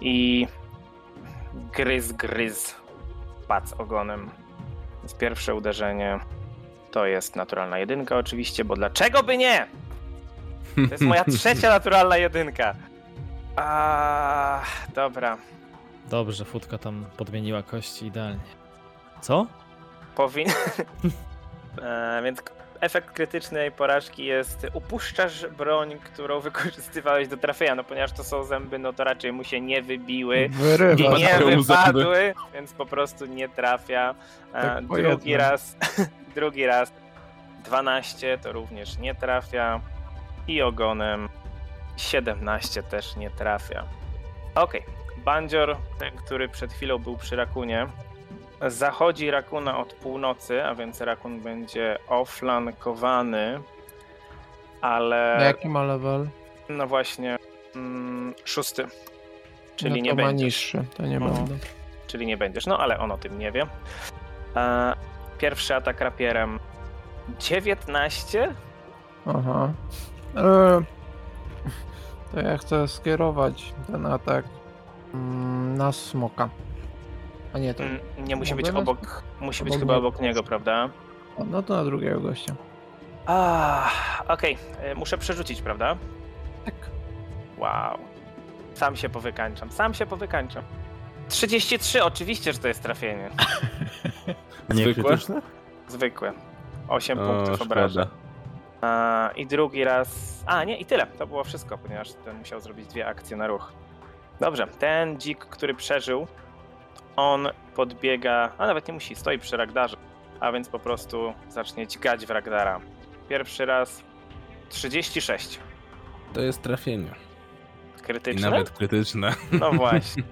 Speaker 1: i gryz, gryz, pac ogonem. Więc pierwsze uderzenie to jest naturalna jedynka oczywiście, bo dlaczego by nie? To jest moja trzecia naturalna jedynka. A, dobra.
Speaker 5: Dobrze, futka tam podmieniła kości idealnie. Co?
Speaker 1: Powin... e, więc k- efekt krytycznej porażki jest upuszczasz broń, którą wykorzystywałeś do trafienia, no ponieważ to są zęby, no to raczej mu się nie wybiły. I
Speaker 4: Wyrywa.
Speaker 1: nie
Speaker 3: Wypadają mu zęby.
Speaker 1: wypadły, więc po prostu nie trafia. E,
Speaker 4: Tak po
Speaker 1: drugi
Speaker 4: jednym.
Speaker 1: raz, drugi raz 12 to również nie trafia i ogonem 17 też nie trafia. Okej, bandzior, ten, który przed chwilą był przy rakunie, zachodzi rakuna od północy, a więc rakun będzie oflankowany, ale
Speaker 4: Na jaki ma level?
Speaker 1: no właśnie mm, szósty, czyli
Speaker 4: no
Speaker 1: nie
Speaker 4: to ma
Speaker 1: będzie
Speaker 4: niższy, to nie
Speaker 1: No.
Speaker 4: będę.
Speaker 1: czyli nie będziesz. No ale on o tym nie wie. E, pierwszy atak rapierem 19.
Speaker 4: Aha. E, to ja chcę skierować ten atak mm, na smoka. A nie, to.
Speaker 1: Mm, Nie musi być
Speaker 4: Mogę nas-
Speaker 1: obok, musi być
Speaker 4: obok
Speaker 1: chyba
Speaker 4: niego.
Speaker 1: obok niego, prawda?
Speaker 4: No to na drugiego gościa.
Speaker 1: A, okej, e, muszę przerzucić, prawda?
Speaker 4: Tak.
Speaker 1: Wow. Sam się powykańczam, sam się powykańczam. 33, oczywiście, że to jest trafienie.
Speaker 2: Nie
Speaker 3: Zwykłe?
Speaker 2: krytyczne?
Speaker 1: Zwykłe. 8
Speaker 3: O,
Speaker 1: punktów obrażeń.
Speaker 3: szkoda.
Speaker 1: A, I drugi raz. A, nie, i tyle. To było wszystko, ponieważ ten musiał zrobić dwie akcje na ruch. Dobrze, ten dzik, który przeżył, on podbiega. A nawet nie musi, stoi przy ragdarze. A więc po prostu zacznie dźgać w ragdara. Pierwszy raz 36.
Speaker 3: To jest trafienie. I
Speaker 1: Krytyczne.
Speaker 3: nawet krytyczne.
Speaker 1: No właśnie.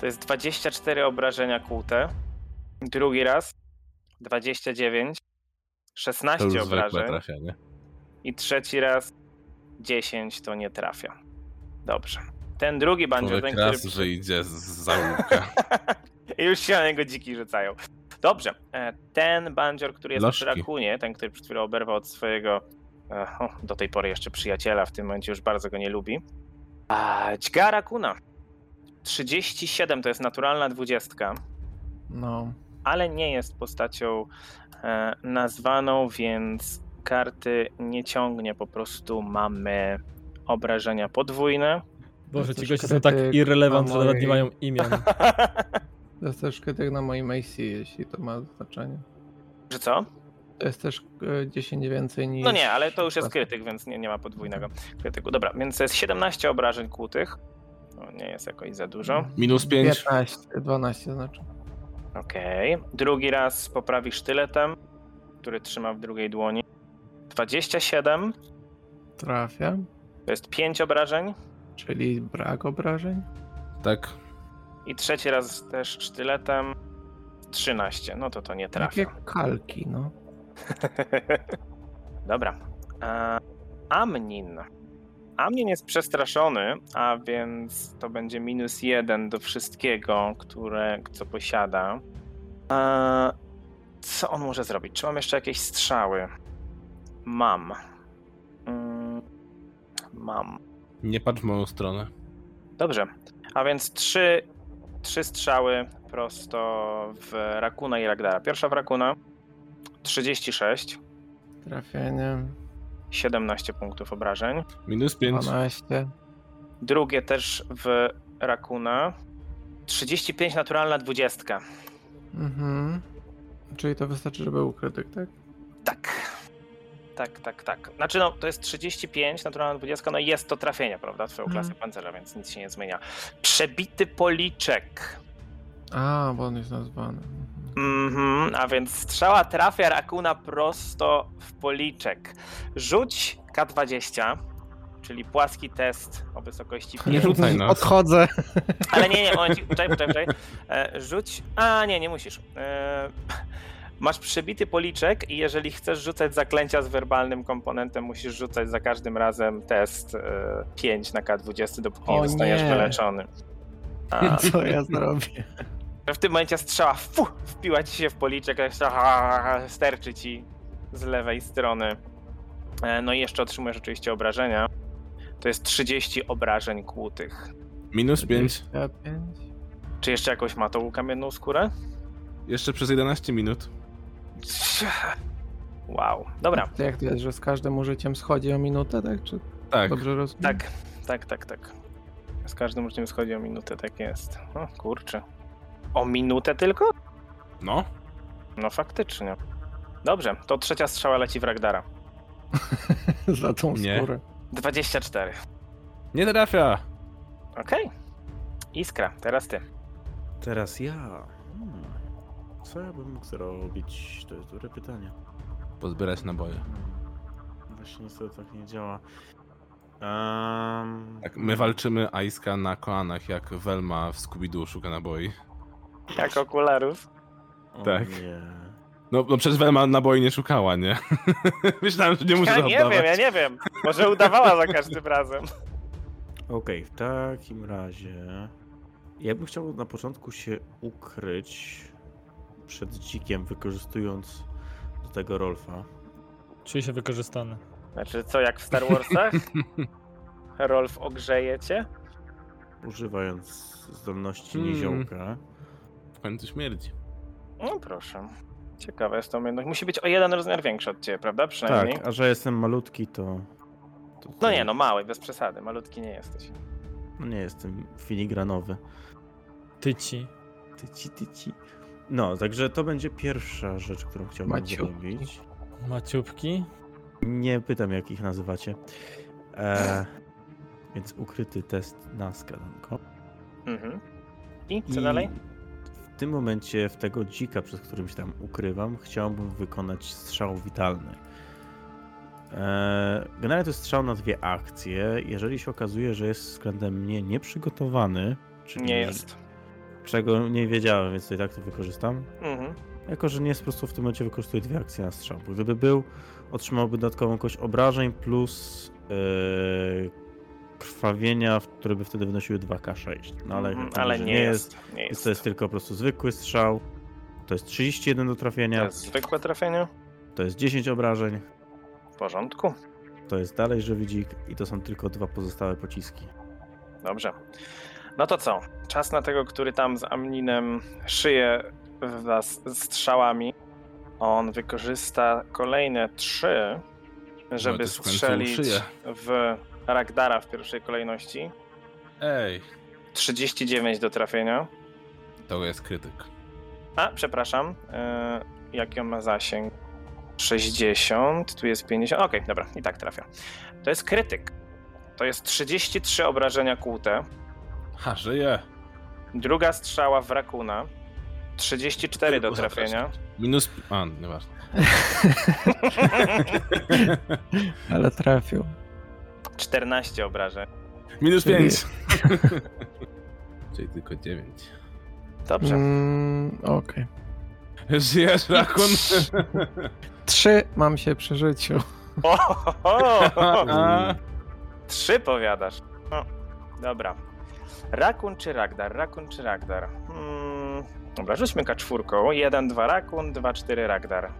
Speaker 1: To jest 24 obrażenia kłute. Drugi raz 29.
Speaker 3: To
Speaker 1: 16
Speaker 3: już zwykłe
Speaker 1: obrażeń.
Speaker 3: trafienie.
Speaker 1: I trzeci raz 10 to nie trafia. Dobrze. Ten drugi będzie ten,
Speaker 3: Człowiek
Speaker 1: który.
Speaker 3: raz wyjdzie z zaułka.
Speaker 1: I już się na niego dziki rzucają. Dobrze. e, Ten bandzior, który jest przy
Speaker 3: Blaszki.
Speaker 1: rakunie, ten, który przed chwilą oberwał od swojego e, o, do tej pory jeszcze przyjaciela, w tym momencie już bardzo go nie lubi. A dźga rakuna. 37 to jest naturalna dwudziestka,
Speaker 4: No.
Speaker 1: ale nie jest postacią e, nazwaną, więc karty nie ciągnie. Po prostu mamy obrażenia podwójne.
Speaker 5: Boże, ci
Speaker 4: Coś
Speaker 5: goście są tak
Speaker 4: krytyk
Speaker 5: irrelevant,
Speaker 4: na
Speaker 5: że nawet
Speaker 4: mojej-
Speaker 5: nie mają imion.
Speaker 4: To jest też krytyk na moim AC, jeśli to ma znaczenie.
Speaker 1: Że co?
Speaker 4: To jest też e, 10 więcej niż.
Speaker 1: No nie, ale to już jest
Speaker 4: Właśnie.
Speaker 1: krytyk, więc nie, nie ma podwójnego krytyku. Dobra, więc jest 17 obrażeń kłutych. No, nie jest jakoś za dużo.
Speaker 3: Minus 5.
Speaker 4: 15, 12 znaczy.
Speaker 1: Okej. Drugi raz poprawi sztyletem, który trzyma w drugiej dłoni. 27
Speaker 4: Trafia,
Speaker 1: to jest 5 obrażeń.
Speaker 4: czyli brak obrażeń.
Speaker 3: Tak.
Speaker 1: I trzeci raz też sztyletem 13. No to to nie trafia.
Speaker 4: Takie Tak kalki, no.
Speaker 1: Dobra. E, Amnin. Amnin jest przestraszony, a więc to będzie minus jeden do wszystkiego, które, co posiada. E, Co on może zrobić? Czy mam jeszcze jakieś strzały? Mam. Mm, Mam.
Speaker 3: Nie patrz w moją stronę.
Speaker 1: Dobrze. A więc trzy, trzy strzały prosto w Rakuna i Ragdara. Pierwsza w Rakuna 36,
Speaker 4: Trafienie
Speaker 1: 17 punktów obrażeń.
Speaker 3: Minus 5.
Speaker 4: 12.
Speaker 1: Drugie też w Rakuna. 35 naturalna 20.
Speaker 4: Mhm. Czyli to wystarczy, żeby był krytyk, tak?
Speaker 1: Tak. Tak, tak, tak. Znaczy no, to jest 35, naturalna 20, no i jest to trafienie, prawda, twoją
Speaker 4: Mhm.
Speaker 1: klasę pancerza, więc nic się nie zmienia. Przebity policzek.
Speaker 4: A, bo on jest nazwany. Mhm.
Speaker 1: Mhm, a więc strzała trafia Rakuna prosto w policzek. Rzuć K20, czyli płaski test o wysokości
Speaker 3: Nie
Speaker 1: 5.
Speaker 3: rzucaj nas.
Speaker 4: Odchodzę.
Speaker 1: Ale nie, nie, momencik, poczekaj, poczekaj, poczekaj. E, Rzuć. A, nie, nie musisz. E, Masz przebity policzek i jeżeli chcesz rzucać zaklęcia z werbalnym komponentem, musisz rzucać za każdym razem test e, 5 na K20, dopóki nie
Speaker 4: O
Speaker 1: zostaniesz
Speaker 4: nie.
Speaker 1: wyleczony. A,
Speaker 4: Co ja zrobię?
Speaker 1: w tym momencie strzała fu, wpiła ci się w policzek, a jeszcze ha, sterczy ci z lewej strony. E, No i jeszcze otrzymujesz oczywiście obrażenia. To jest 30 obrażeń kłutych.
Speaker 3: Minus 5.
Speaker 4: 5.
Speaker 1: Czy jeszcze jakoś ma tą kamienną skórę?
Speaker 3: Jeszcze przez 11 minut.
Speaker 1: Wow, dobra.
Speaker 4: To jak to jest, że z każdym użyciem schodzi o minutę, tak? Czy
Speaker 3: Tak.
Speaker 4: dobrze rozumiem?
Speaker 1: Tak, tak, tak, tak. Z każdym uczniem schodzi o minutę, tak jest. O kurczę. O minutę tylko?
Speaker 3: No.
Speaker 1: No faktycznie. Dobrze, to trzecia strzała leci w Ragdara.
Speaker 4: Za tą
Speaker 3: Nie.
Speaker 4: skórę.
Speaker 1: 24.
Speaker 3: Nie trafia.
Speaker 1: Okej. Iskra, teraz ty.
Speaker 2: Teraz ja. Hmm. Co ja bym mógł zrobić? To jest dobre pytanie.
Speaker 3: Pozbierać naboje.
Speaker 2: Hmm. Właśnie niestety tak nie działa. Um,
Speaker 3: Tak, my walczymy Aiska na kolanach, jak Velma w Scooby-Doo szuka naboi.
Speaker 1: Jak okularów.
Speaker 3: tak.
Speaker 2: Nie.
Speaker 3: No, no przecież Velma naboi nie szukała, nie? Myślałem, że nie muszę
Speaker 1: Ja nie
Speaker 3: oddawać.
Speaker 1: wiem, ja nie wiem. Może udawała za każdym razem.
Speaker 2: Okej, w takim razie. Ja bym chciał na początku się ukryć przed dzikiem, wykorzystując do tego Rolfa.
Speaker 5: Czuję się wykorzystany.
Speaker 1: Znaczy co, jak w Star Warsach? Rolf ogrzeje cię?
Speaker 2: używając zdolności
Speaker 3: Hmm.
Speaker 2: niziołka.
Speaker 3: W końcu śmierdzi.
Speaker 1: No proszę. Ciekawa jest to umiejętność. Musi być o jeden rozmiar większy od ciebie, prawda? Przynajmniej.
Speaker 2: Tak, a że jestem malutki, to. to
Speaker 1: No nie, no mały, bez przesady. Malutki nie jesteś.
Speaker 2: no Nie jestem filigranowy.
Speaker 5: Tyci.
Speaker 2: Tyci, tyci. No, także to będzie pierwsza rzecz, którą chciałbym
Speaker 4: Maciupki.
Speaker 2: zrobić.
Speaker 5: Maciupki.
Speaker 2: Nie pytam, jak ich nazywacie. E, więc ukryty test na skadanko.
Speaker 1: Mhm. I co dalej?
Speaker 2: W tym momencie, w tego dzika, przez którym się tam ukrywam, chciałbym wykonać strzał witalny. Eee, Generalnie to jest strzał na dwie akcje. Jeżeli się okazuje, że jest względem mnie nieprzygotowany, czyli
Speaker 1: Nie jest.
Speaker 2: czego nie wiedziałem, więc to i tak to wykorzystam.
Speaker 1: Mhm.
Speaker 2: Jako, że nie jest po prostu w tym momencie wykorzystuje dwie akcje na strzał. Bo gdyby był, otrzymałby dodatkową kość obrażeń plus eee, krwawienia, w- które by wtedy wynosiły 2k6. No ale,
Speaker 1: Mhm,
Speaker 2: jako,
Speaker 1: ale
Speaker 2: że
Speaker 1: nie jest. Nie
Speaker 2: więc
Speaker 1: jest.
Speaker 2: to jest tylko po prostu zwykły strzał. To jest 31 do
Speaker 1: To
Speaker 2: trafienia,
Speaker 1: jest zwykłe trafienie?
Speaker 2: to jest 10 obrażeń,
Speaker 1: W porządku.
Speaker 2: to jest dalej żywy dzik i to są tylko dwa pozostałe pociski.
Speaker 1: Dobrze. No to co? Czas na tego, który tam z Amninem szyje was strzałami. On wykorzysta kolejne trzy, żeby
Speaker 3: No to w końcu
Speaker 1: strzelić
Speaker 3: uszyję.
Speaker 1: w Ragdara w pierwszej kolejności.
Speaker 3: Ej,
Speaker 1: 39 do trafienia.
Speaker 3: to jest krytyk.
Speaker 1: A, przepraszam. E, jaki on ma zasięg? 60, tu jest 50. Okej, dobra, i tak trafia. To jest krytyk. To jest 33 obrażenia kłute.
Speaker 3: Ha, żyje.
Speaker 1: Druga strzała w rakuna. 34 do trafienia.
Speaker 3: Minus... pi- A, nieważne.
Speaker 4: Ale trafił.
Speaker 1: 14 obrażeń.
Speaker 3: Minus
Speaker 4: Czyli-
Speaker 3: 5. Czyli tylko 9.
Speaker 1: Dobrze.
Speaker 4: Mm, Okej.
Speaker 3: Żyjesz, Rakun?
Speaker 4: Trzy mam się przy życiu.
Speaker 1: O, ho, ho, ho.
Speaker 3: A,
Speaker 1: Trzy powiadasz. No, dobra. Rakun czy Ragdar? Rakun czy Ragdar? Hmm, dobra, rzućmy K4. 1, 2 Rakun, 2, 4 Ragdar.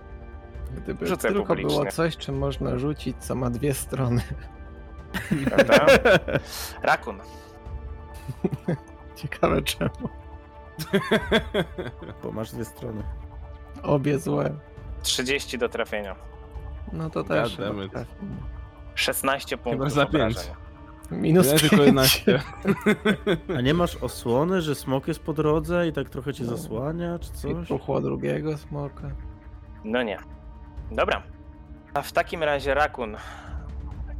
Speaker 4: Gdyby
Speaker 1: Rzucę
Speaker 4: tylko
Speaker 1: publicznie.
Speaker 4: było coś, czym można rzucić, co ma dwie strony.
Speaker 1: Prawda? Rakun.
Speaker 4: Ciekawe czemu.
Speaker 2: Bo masz dwie strony.
Speaker 4: Obie złe.
Speaker 1: 30 do trafienia.
Speaker 4: No to też.
Speaker 3: God damn
Speaker 4: chyba tak.
Speaker 3: it.
Speaker 4: trafi.
Speaker 1: 16 punktów.
Speaker 3: za pięć.
Speaker 1: obrażeń.
Speaker 4: Minus
Speaker 3: Ja tylko
Speaker 4: 5.
Speaker 3: 11.
Speaker 2: A nie masz osłony, że smok jest po drodze i tak trochę cię zasłania, czy
Speaker 4: I
Speaker 2: coś?
Speaker 4: puchło drugiego smoka.
Speaker 1: No nie. Dobra. A w takim razie rakun.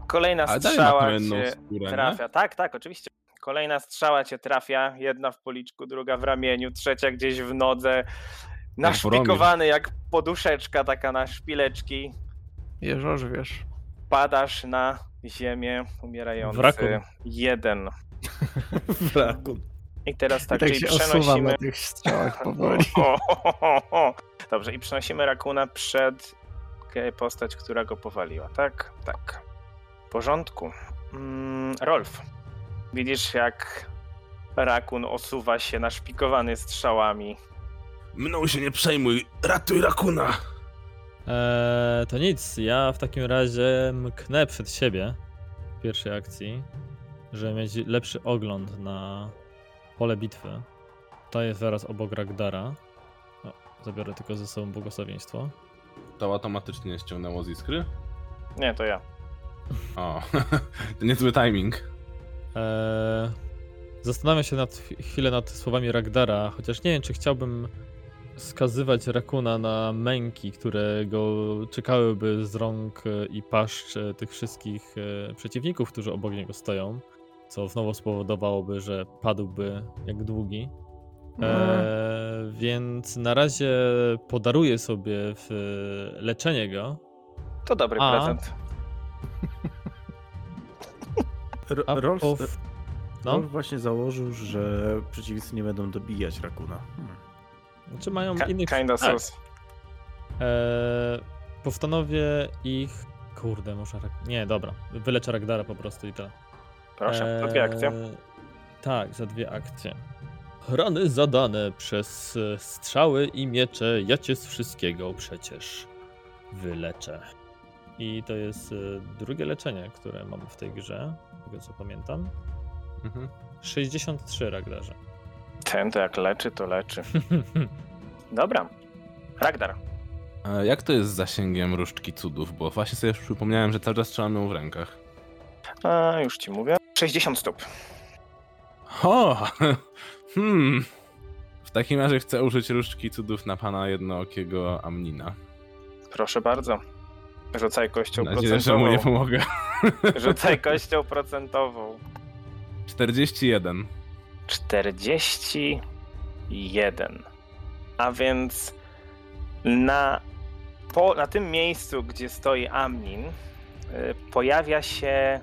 Speaker 1: Kolejna
Speaker 3: Ale dalej ma tą
Speaker 1: strzała
Speaker 3: jedną
Speaker 1: cię
Speaker 3: skórę, nie?
Speaker 1: trafia. Tak, tak, oczywiście. Kolejna strzała cię trafia. Jedna w policzku, druga w ramieniu, trzecia gdzieś w nodze. Naszpikowany jak poduszeczka taka na szpileczki.
Speaker 4: Jeżorz wiesz.
Speaker 1: Padasz na ziemię umierający.
Speaker 5: Wrakun.
Speaker 1: Jeden.
Speaker 2: Wraku.
Speaker 1: I teraz
Speaker 4: Tak,
Speaker 1: tak,
Speaker 4: tak
Speaker 1: czyli
Speaker 4: się osuwam
Speaker 1: przenosimy.
Speaker 4: na tych strzałach powoli.
Speaker 1: O, o, o, o. Dobrze, i przenosimy rakuna przed e, postać, która go powaliła, tak? Tak. W porządku. Mm, Rolf, widzisz jak rakun osuwa się naszpikowany strzałami.
Speaker 3: Mną się nie przejmuj, ratuj rakuna!
Speaker 5: Eee, to nic, ja w takim razie mknę przed siebie w pierwszej akcji, żeby mieć lepszy ogląd na pole bitwy. To jest zaraz obok Ragdara. O, zabiorę tylko ze sobą błogosławieństwo.
Speaker 3: To automatycznie ściągnęło z iskry?
Speaker 1: Nie, to ja.
Speaker 3: O, to niezły timing.
Speaker 5: Eee, zastanawiam się nad, chwilę nad słowami Ragdara, chociaż nie wiem, czy chciałbym skazywać Rakuna na męki, które go czekałyby z rąk e, i paszcz e, tych wszystkich e, przeciwników, którzy obok niego stoją, co znowu spowodowałoby, że padłby jak długi.
Speaker 2: No.
Speaker 3: No.
Speaker 4: E,
Speaker 5: Eee, więc na razie podaruję sobie w e, leczenie go.
Speaker 1: To dobry
Speaker 5: A.
Speaker 1: prezent.
Speaker 2: R-
Speaker 5: A
Speaker 2: Rolf,
Speaker 5: po-
Speaker 2: no?
Speaker 5: No,
Speaker 2: Rolf właśnie założył, że przeciwnicy nie będą dobijać Rakuna. Hmm.
Speaker 5: czy mają
Speaker 1: Ki-
Speaker 5: innych...
Speaker 1: Kinda
Speaker 5: tak,
Speaker 1: sus.
Speaker 5: Eee, postanowię ich. Kurde, muszę. Rag... Nie, dobra. Wyleczę Ragdara po prostu i tyle.
Speaker 1: Proszę, to dwie akcje.
Speaker 5: Eee, Tak, za dwie akcje. Rany zadane przez e, strzały i miecze, ja cię z wszystkiego przecież wyleczę. I to jest e, drugie leczenie, które mamy w tej grze, z tego co pamiętam.
Speaker 3: Mhm.
Speaker 5: 63 Ragdarze.
Speaker 1: Ten to jak leczy, to leczy. Dobra. Ragdar.
Speaker 3: E, Jak to jest z zasięgiem różdżki cudów? Bo właśnie sobie już przypomniałem, że cały czas trzymam ją w rękach.
Speaker 1: A, już ci mówię. 60 stóp.
Speaker 3: O! Hmm. W takim razie chcę użyć różdżki cudów na pana jednookiego Amnina.
Speaker 1: Proszę bardzo. Rzucaj kością
Speaker 3: Mam nadzieję, że mu nie
Speaker 1: procentową.
Speaker 3: pomogę.
Speaker 1: Rzucaj kością procentową.
Speaker 3: 41.
Speaker 1: 41. A więc na, po, na tym miejscu, gdzie stoi Amnin, y, pojawia się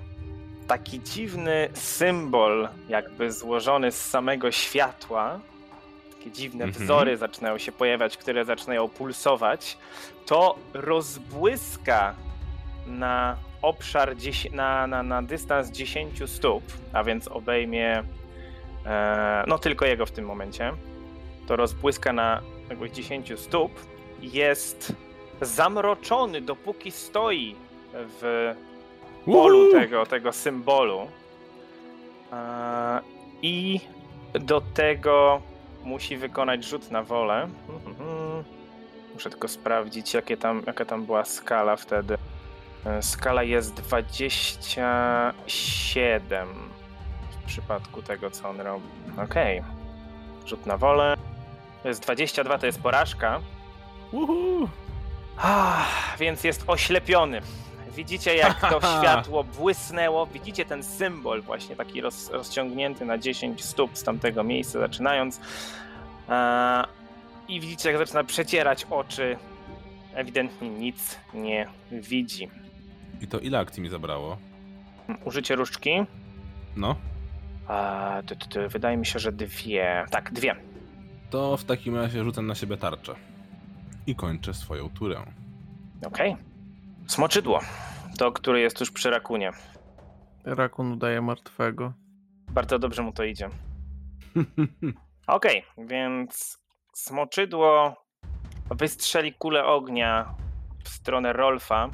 Speaker 1: taki dziwny symbol, jakby złożony z samego światła. Takie dziwne
Speaker 3: Mhm.
Speaker 1: wzory zaczynają się pojawiać, które zaczynają pulsować. To rozbłyska na obszar, dziesię- na, na, na dystans 10 stóp, a więc obejmie e, no tylko jego w tym momencie. To rozbłyska na jakby 10 stóp. Jest zamroczony, dopóki stoi w polu tak. tego, tego symbolu. E, I do tego musi wykonać rzut na wolę. Mhm. Muszę tylko sprawdzić, jakie tam, jaka tam była skala wtedy. E, Skala jest 27 w przypadku tego, co on robi. Okej. Rzut na wolę. To jest 22, to jest porażka.
Speaker 3: Uhu.
Speaker 1: Ah, więc jest oślepiony. Widzicie, jak to światło błysnęło. Widzicie ten symbol, właśnie taki roz, rozciągnięty na 10 stóp z tamtego miejsca, zaczynając. A, I widzicie, jak zaczyna przecierać oczy. Ewidentnie nic nie widzi.
Speaker 3: I to ile akcji mi zabrało?
Speaker 1: Użycie różdżki.
Speaker 3: No.
Speaker 1: A, ty, ty, ty, wydaje mi się, że dwie. Tak, dwie.
Speaker 3: To w takim razie rzucam na siebie tarczę. I kończę swoją turę.
Speaker 1: Okej. Smoczydło. To, które jest tuż przy rakunie.
Speaker 4: Rakun udaje martwego.
Speaker 1: Bardzo dobrze mu to idzie. Okej, więc smoczydło wystrzeli kulę ognia w stronę Rolfa,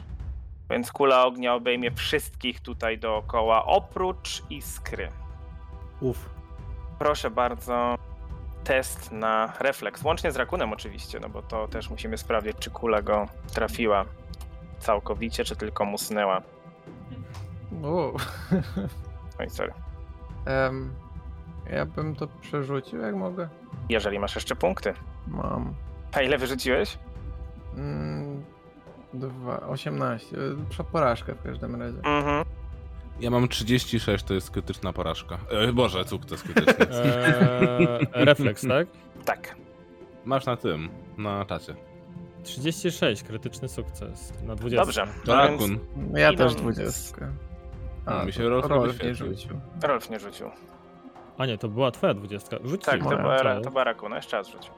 Speaker 1: więc kula ognia obejmie wszystkich tutaj dookoła, oprócz iskry.
Speaker 2: Uf.
Speaker 1: Proszę bardzo, test na refleks, łącznie z rakunem oczywiście, no bo to też musimy sprawdzić, czy kula go trafiła całkowicie, czy tylko mu snęła.
Speaker 4: O.
Speaker 1: Oj, sorry.
Speaker 4: Em, ja bym to przerzucił, jak mogę.
Speaker 1: Jeżeli masz jeszcze punkty.
Speaker 4: Mam.
Speaker 1: A ile wyrzuciłeś?
Speaker 4: Mm, dwa, 18. y, prze- Porażkę w każdym razie.
Speaker 1: Mhm.
Speaker 3: Ja mam 36, to jest krytyczna porażka. E, Boże, sukces krytyczny.
Speaker 5: Eee, refleks, tak?
Speaker 1: Tak.
Speaker 3: Masz na tym, na czacie.
Speaker 5: 36, krytyczny sukces. Na 20.
Speaker 1: Dobrze. No więc
Speaker 3: Rakun,
Speaker 4: Ja
Speaker 1: I
Speaker 4: też
Speaker 1: mam-
Speaker 4: 20.
Speaker 3: No, mi się
Speaker 4: to
Speaker 3: Rolf
Speaker 4: Rolf
Speaker 3: wyświetlił.
Speaker 4: nie rzucił.
Speaker 1: Rolf nie rzucił.
Speaker 5: A nie, to była twoja 20. Rzuć
Speaker 1: Tak, to
Speaker 4: Moja,
Speaker 1: była, ra- to była rakuna. Jeszcze raz rzucił.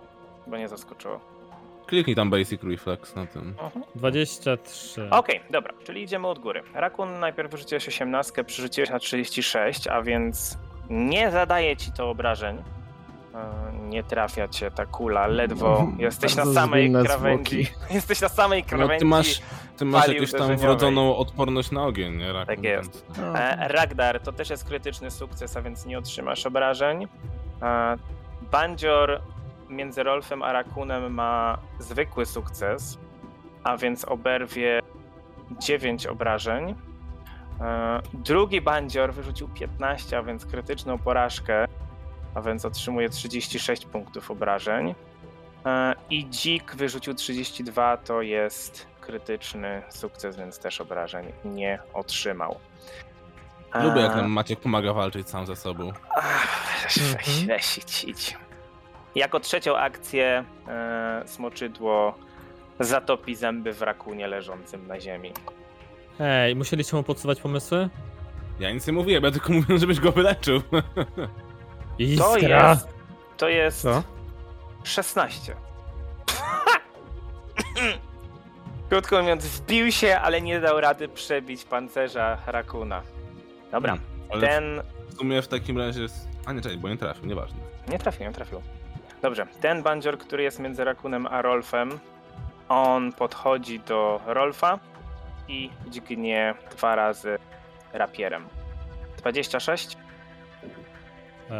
Speaker 1: Bo nie zaskoczyło.
Speaker 3: kliknij tam Basic Reflex na tym. No,
Speaker 1: Mhm.
Speaker 5: 23.
Speaker 3: Tak.
Speaker 1: Okej, dobra, czyli idziemy od góry. Rakun najpierw wyrzuciłeś 18, przerzuciłeś na 36, a więc nie zadaje ci to obrażeń. E, Nie trafia cię ta kula, ledwo
Speaker 4: No,
Speaker 1: jesteś na
Speaker 4: bardzo
Speaker 1: samej
Speaker 4: zwinne
Speaker 1: krawędzi. Jesteś na samej
Speaker 3: No,
Speaker 1: krawędzi.
Speaker 3: ty masz, ty masz
Speaker 1: fali
Speaker 3: jakąś tam
Speaker 1: uderzeniowej.
Speaker 3: wrodzoną odporność na ogień, nie? Rakun,
Speaker 1: Tak jest.
Speaker 3: więc-
Speaker 4: No,
Speaker 1: E, Ragdar, to też jest krytyczny sukces, a więc nie otrzymasz obrażeń. E, Bandzior między Rolfem a Rakunem ma zwykły sukces, a więc oberwie 9 obrażeń. E, Drugi Bandzior wyrzucił 15, a więc krytyczną porażkę, a więc otrzymuje 36 punktów obrażeń. E, I Dzik wyrzucił 32, to jest krytyczny sukces, więc też obrażeń nie otrzymał.
Speaker 3: Lubię jak
Speaker 1: A,
Speaker 3: nam Maciek pomaga walczyć sam ze sobą.
Speaker 1: Ach, Weź, weź, idź, idź. Jako trzecią akcję e, smoczydło zatopi zęby w rakunie leżącym na ziemi.
Speaker 5: Ej, musieliście mu podsuwać pomysły?
Speaker 3: Ja nic nie mówiłem, ja tylko mówiłem, żebyś go wyleczył.
Speaker 1: To
Speaker 5: Iskra!
Speaker 1: jest. To jest.
Speaker 5: Co?
Speaker 1: 16. Krótko mówiąc, wbił się, ale nie dał rady przebić pancerza rakuna. Dobra,
Speaker 3: Ale
Speaker 1: ten.
Speaker 3: w sumie w takim razie... Jest... A nie, czekaj, bo nie trafił, nieważne.
Speaker 1: Nie trafił, nie trafił. Dobrze, ten bandzior, który jest między Rakunem a Rolfem, on podchodzi do Rolfa i dźgnie dwa razy rapierem. 26,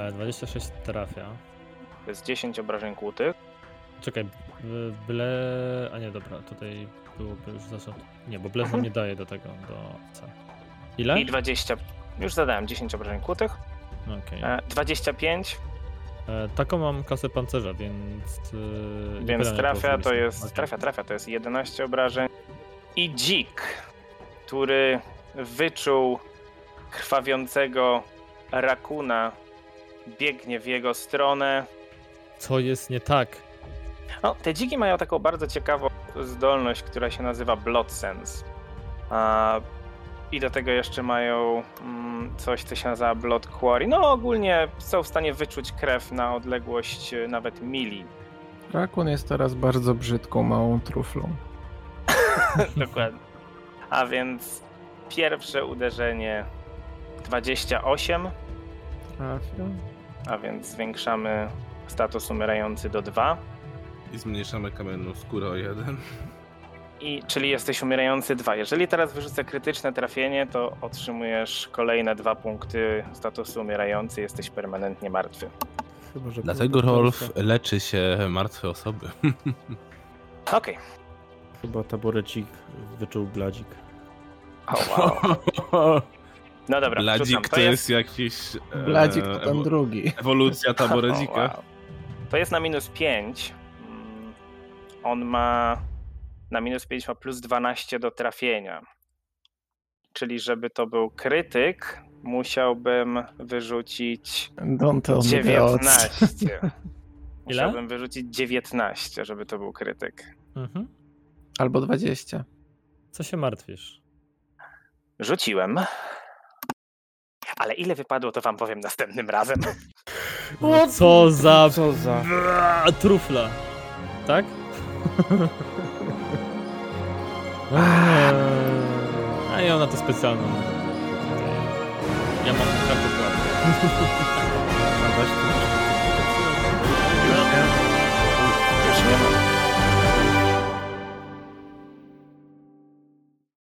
Speaker 5: E, 26 trafia.
Speaker 1: to jest 10 obrażeń kłutych.
Speaker 5: Czekaj, b- ble... A nie, dobra, tutaj byłoby już zasad. Nie, bo blef nam nie daje do tego, do C. Ile?
Speaker 1: Mhm. I 20, już zadałem 10 obrażeń kłutych.
Speaker 5: Okej.
Speaker 1: E, 25,
Speaker 5: E, Taką mam kasę pancerza, więc... e, nie
Speaker 1: więc
Speaker 5: pytam, jak
Speaker 1: trafia, to
Speaker 5: zrobiliście.
Speaker 1: jest,
Speaker 5: Okej.
Speaker 1: trafia, trafia, to jest 11 obrażeń. I dzik, który wyczuł krwawiącego Rakuna, biegnie w jego stronę.
Speaker 5: Co jest nie tak?
Speaker 1: No, te dziki mają taką bardzo ciekawą zdolność, która się nazywa Blood Sense. A, I do tego jeszcze mają mm, coś, co się nazywa Blood Quarry. No, ogólnie są w stanie wyczuć krew na odległość e, nawet mili.
Speaker 4: Rakun jest teraz bardzo brzydką, małą truflą.
Speaker 1: Dokładnie. A więc pierwsze uderzenie 28,
Speaker 4: Trafił.
Speaker 1: a więc zwiększamy status umierający do 2.
Speaker 3: I zmniejszamy kamienną skórę o jeden.
Speaker 1: I, czyli jesteś umierający 2. Jeżeli teraz wyrzucę krytyczne trafienie, to otrzymujesz kolejne dwa punkty statusu umierający, jesteś permanentnie martwy.
Speaker 2: Chyba, że
Speaker 3: Dlatego
Speaker 2: była ta
Speaker 3: Rolf
Speaker 2: polska-
Speaker 3: leczy się martwe osoby.
Speaker 1: Okej.
Speaker 2: Chyba taborecik wyczuł bladzik.
Speaker 1: O, wow. No dobra,
Speaker 3: Bladzik
Speaker 1: wrzucam.
Speaker 3: to jest jakiś... e,
Speaker 4: Bladzik to ten
Speaker 3: ewo-
Speaker 4: drugi.
Speaker 3: Ewolucja
Speaker 1: O,
Speaker 3: taboredzika.
Speaker 1: wow. To jest na minus 5. On ma na minus 5 ma plus 12 do trafienia. Czyli żeby to był krytyk, musiałbym wyrzucić
Speaker 4: Don't tell me the odds.
Speaker 1: 19.
Speaker 5: Ile?
Speaker 1: Musiałbym wyrzucić 19, żeby to był krytyk.
Speaker 5: Mhm.
Speaker 4: Albo 20.
Speaker 5: Co się martwisz?
Speaker 1: Rzuciłem. Ale ile wypadło, to wam powiem następnym razem.
Speaker 5: No, co za...
Speaker 2: Co za...
Speaker 5: Brrr, trufla. Tak? A i ona to specjalną. Ja mam kartę płatną.
Speaker 2: A weź tu.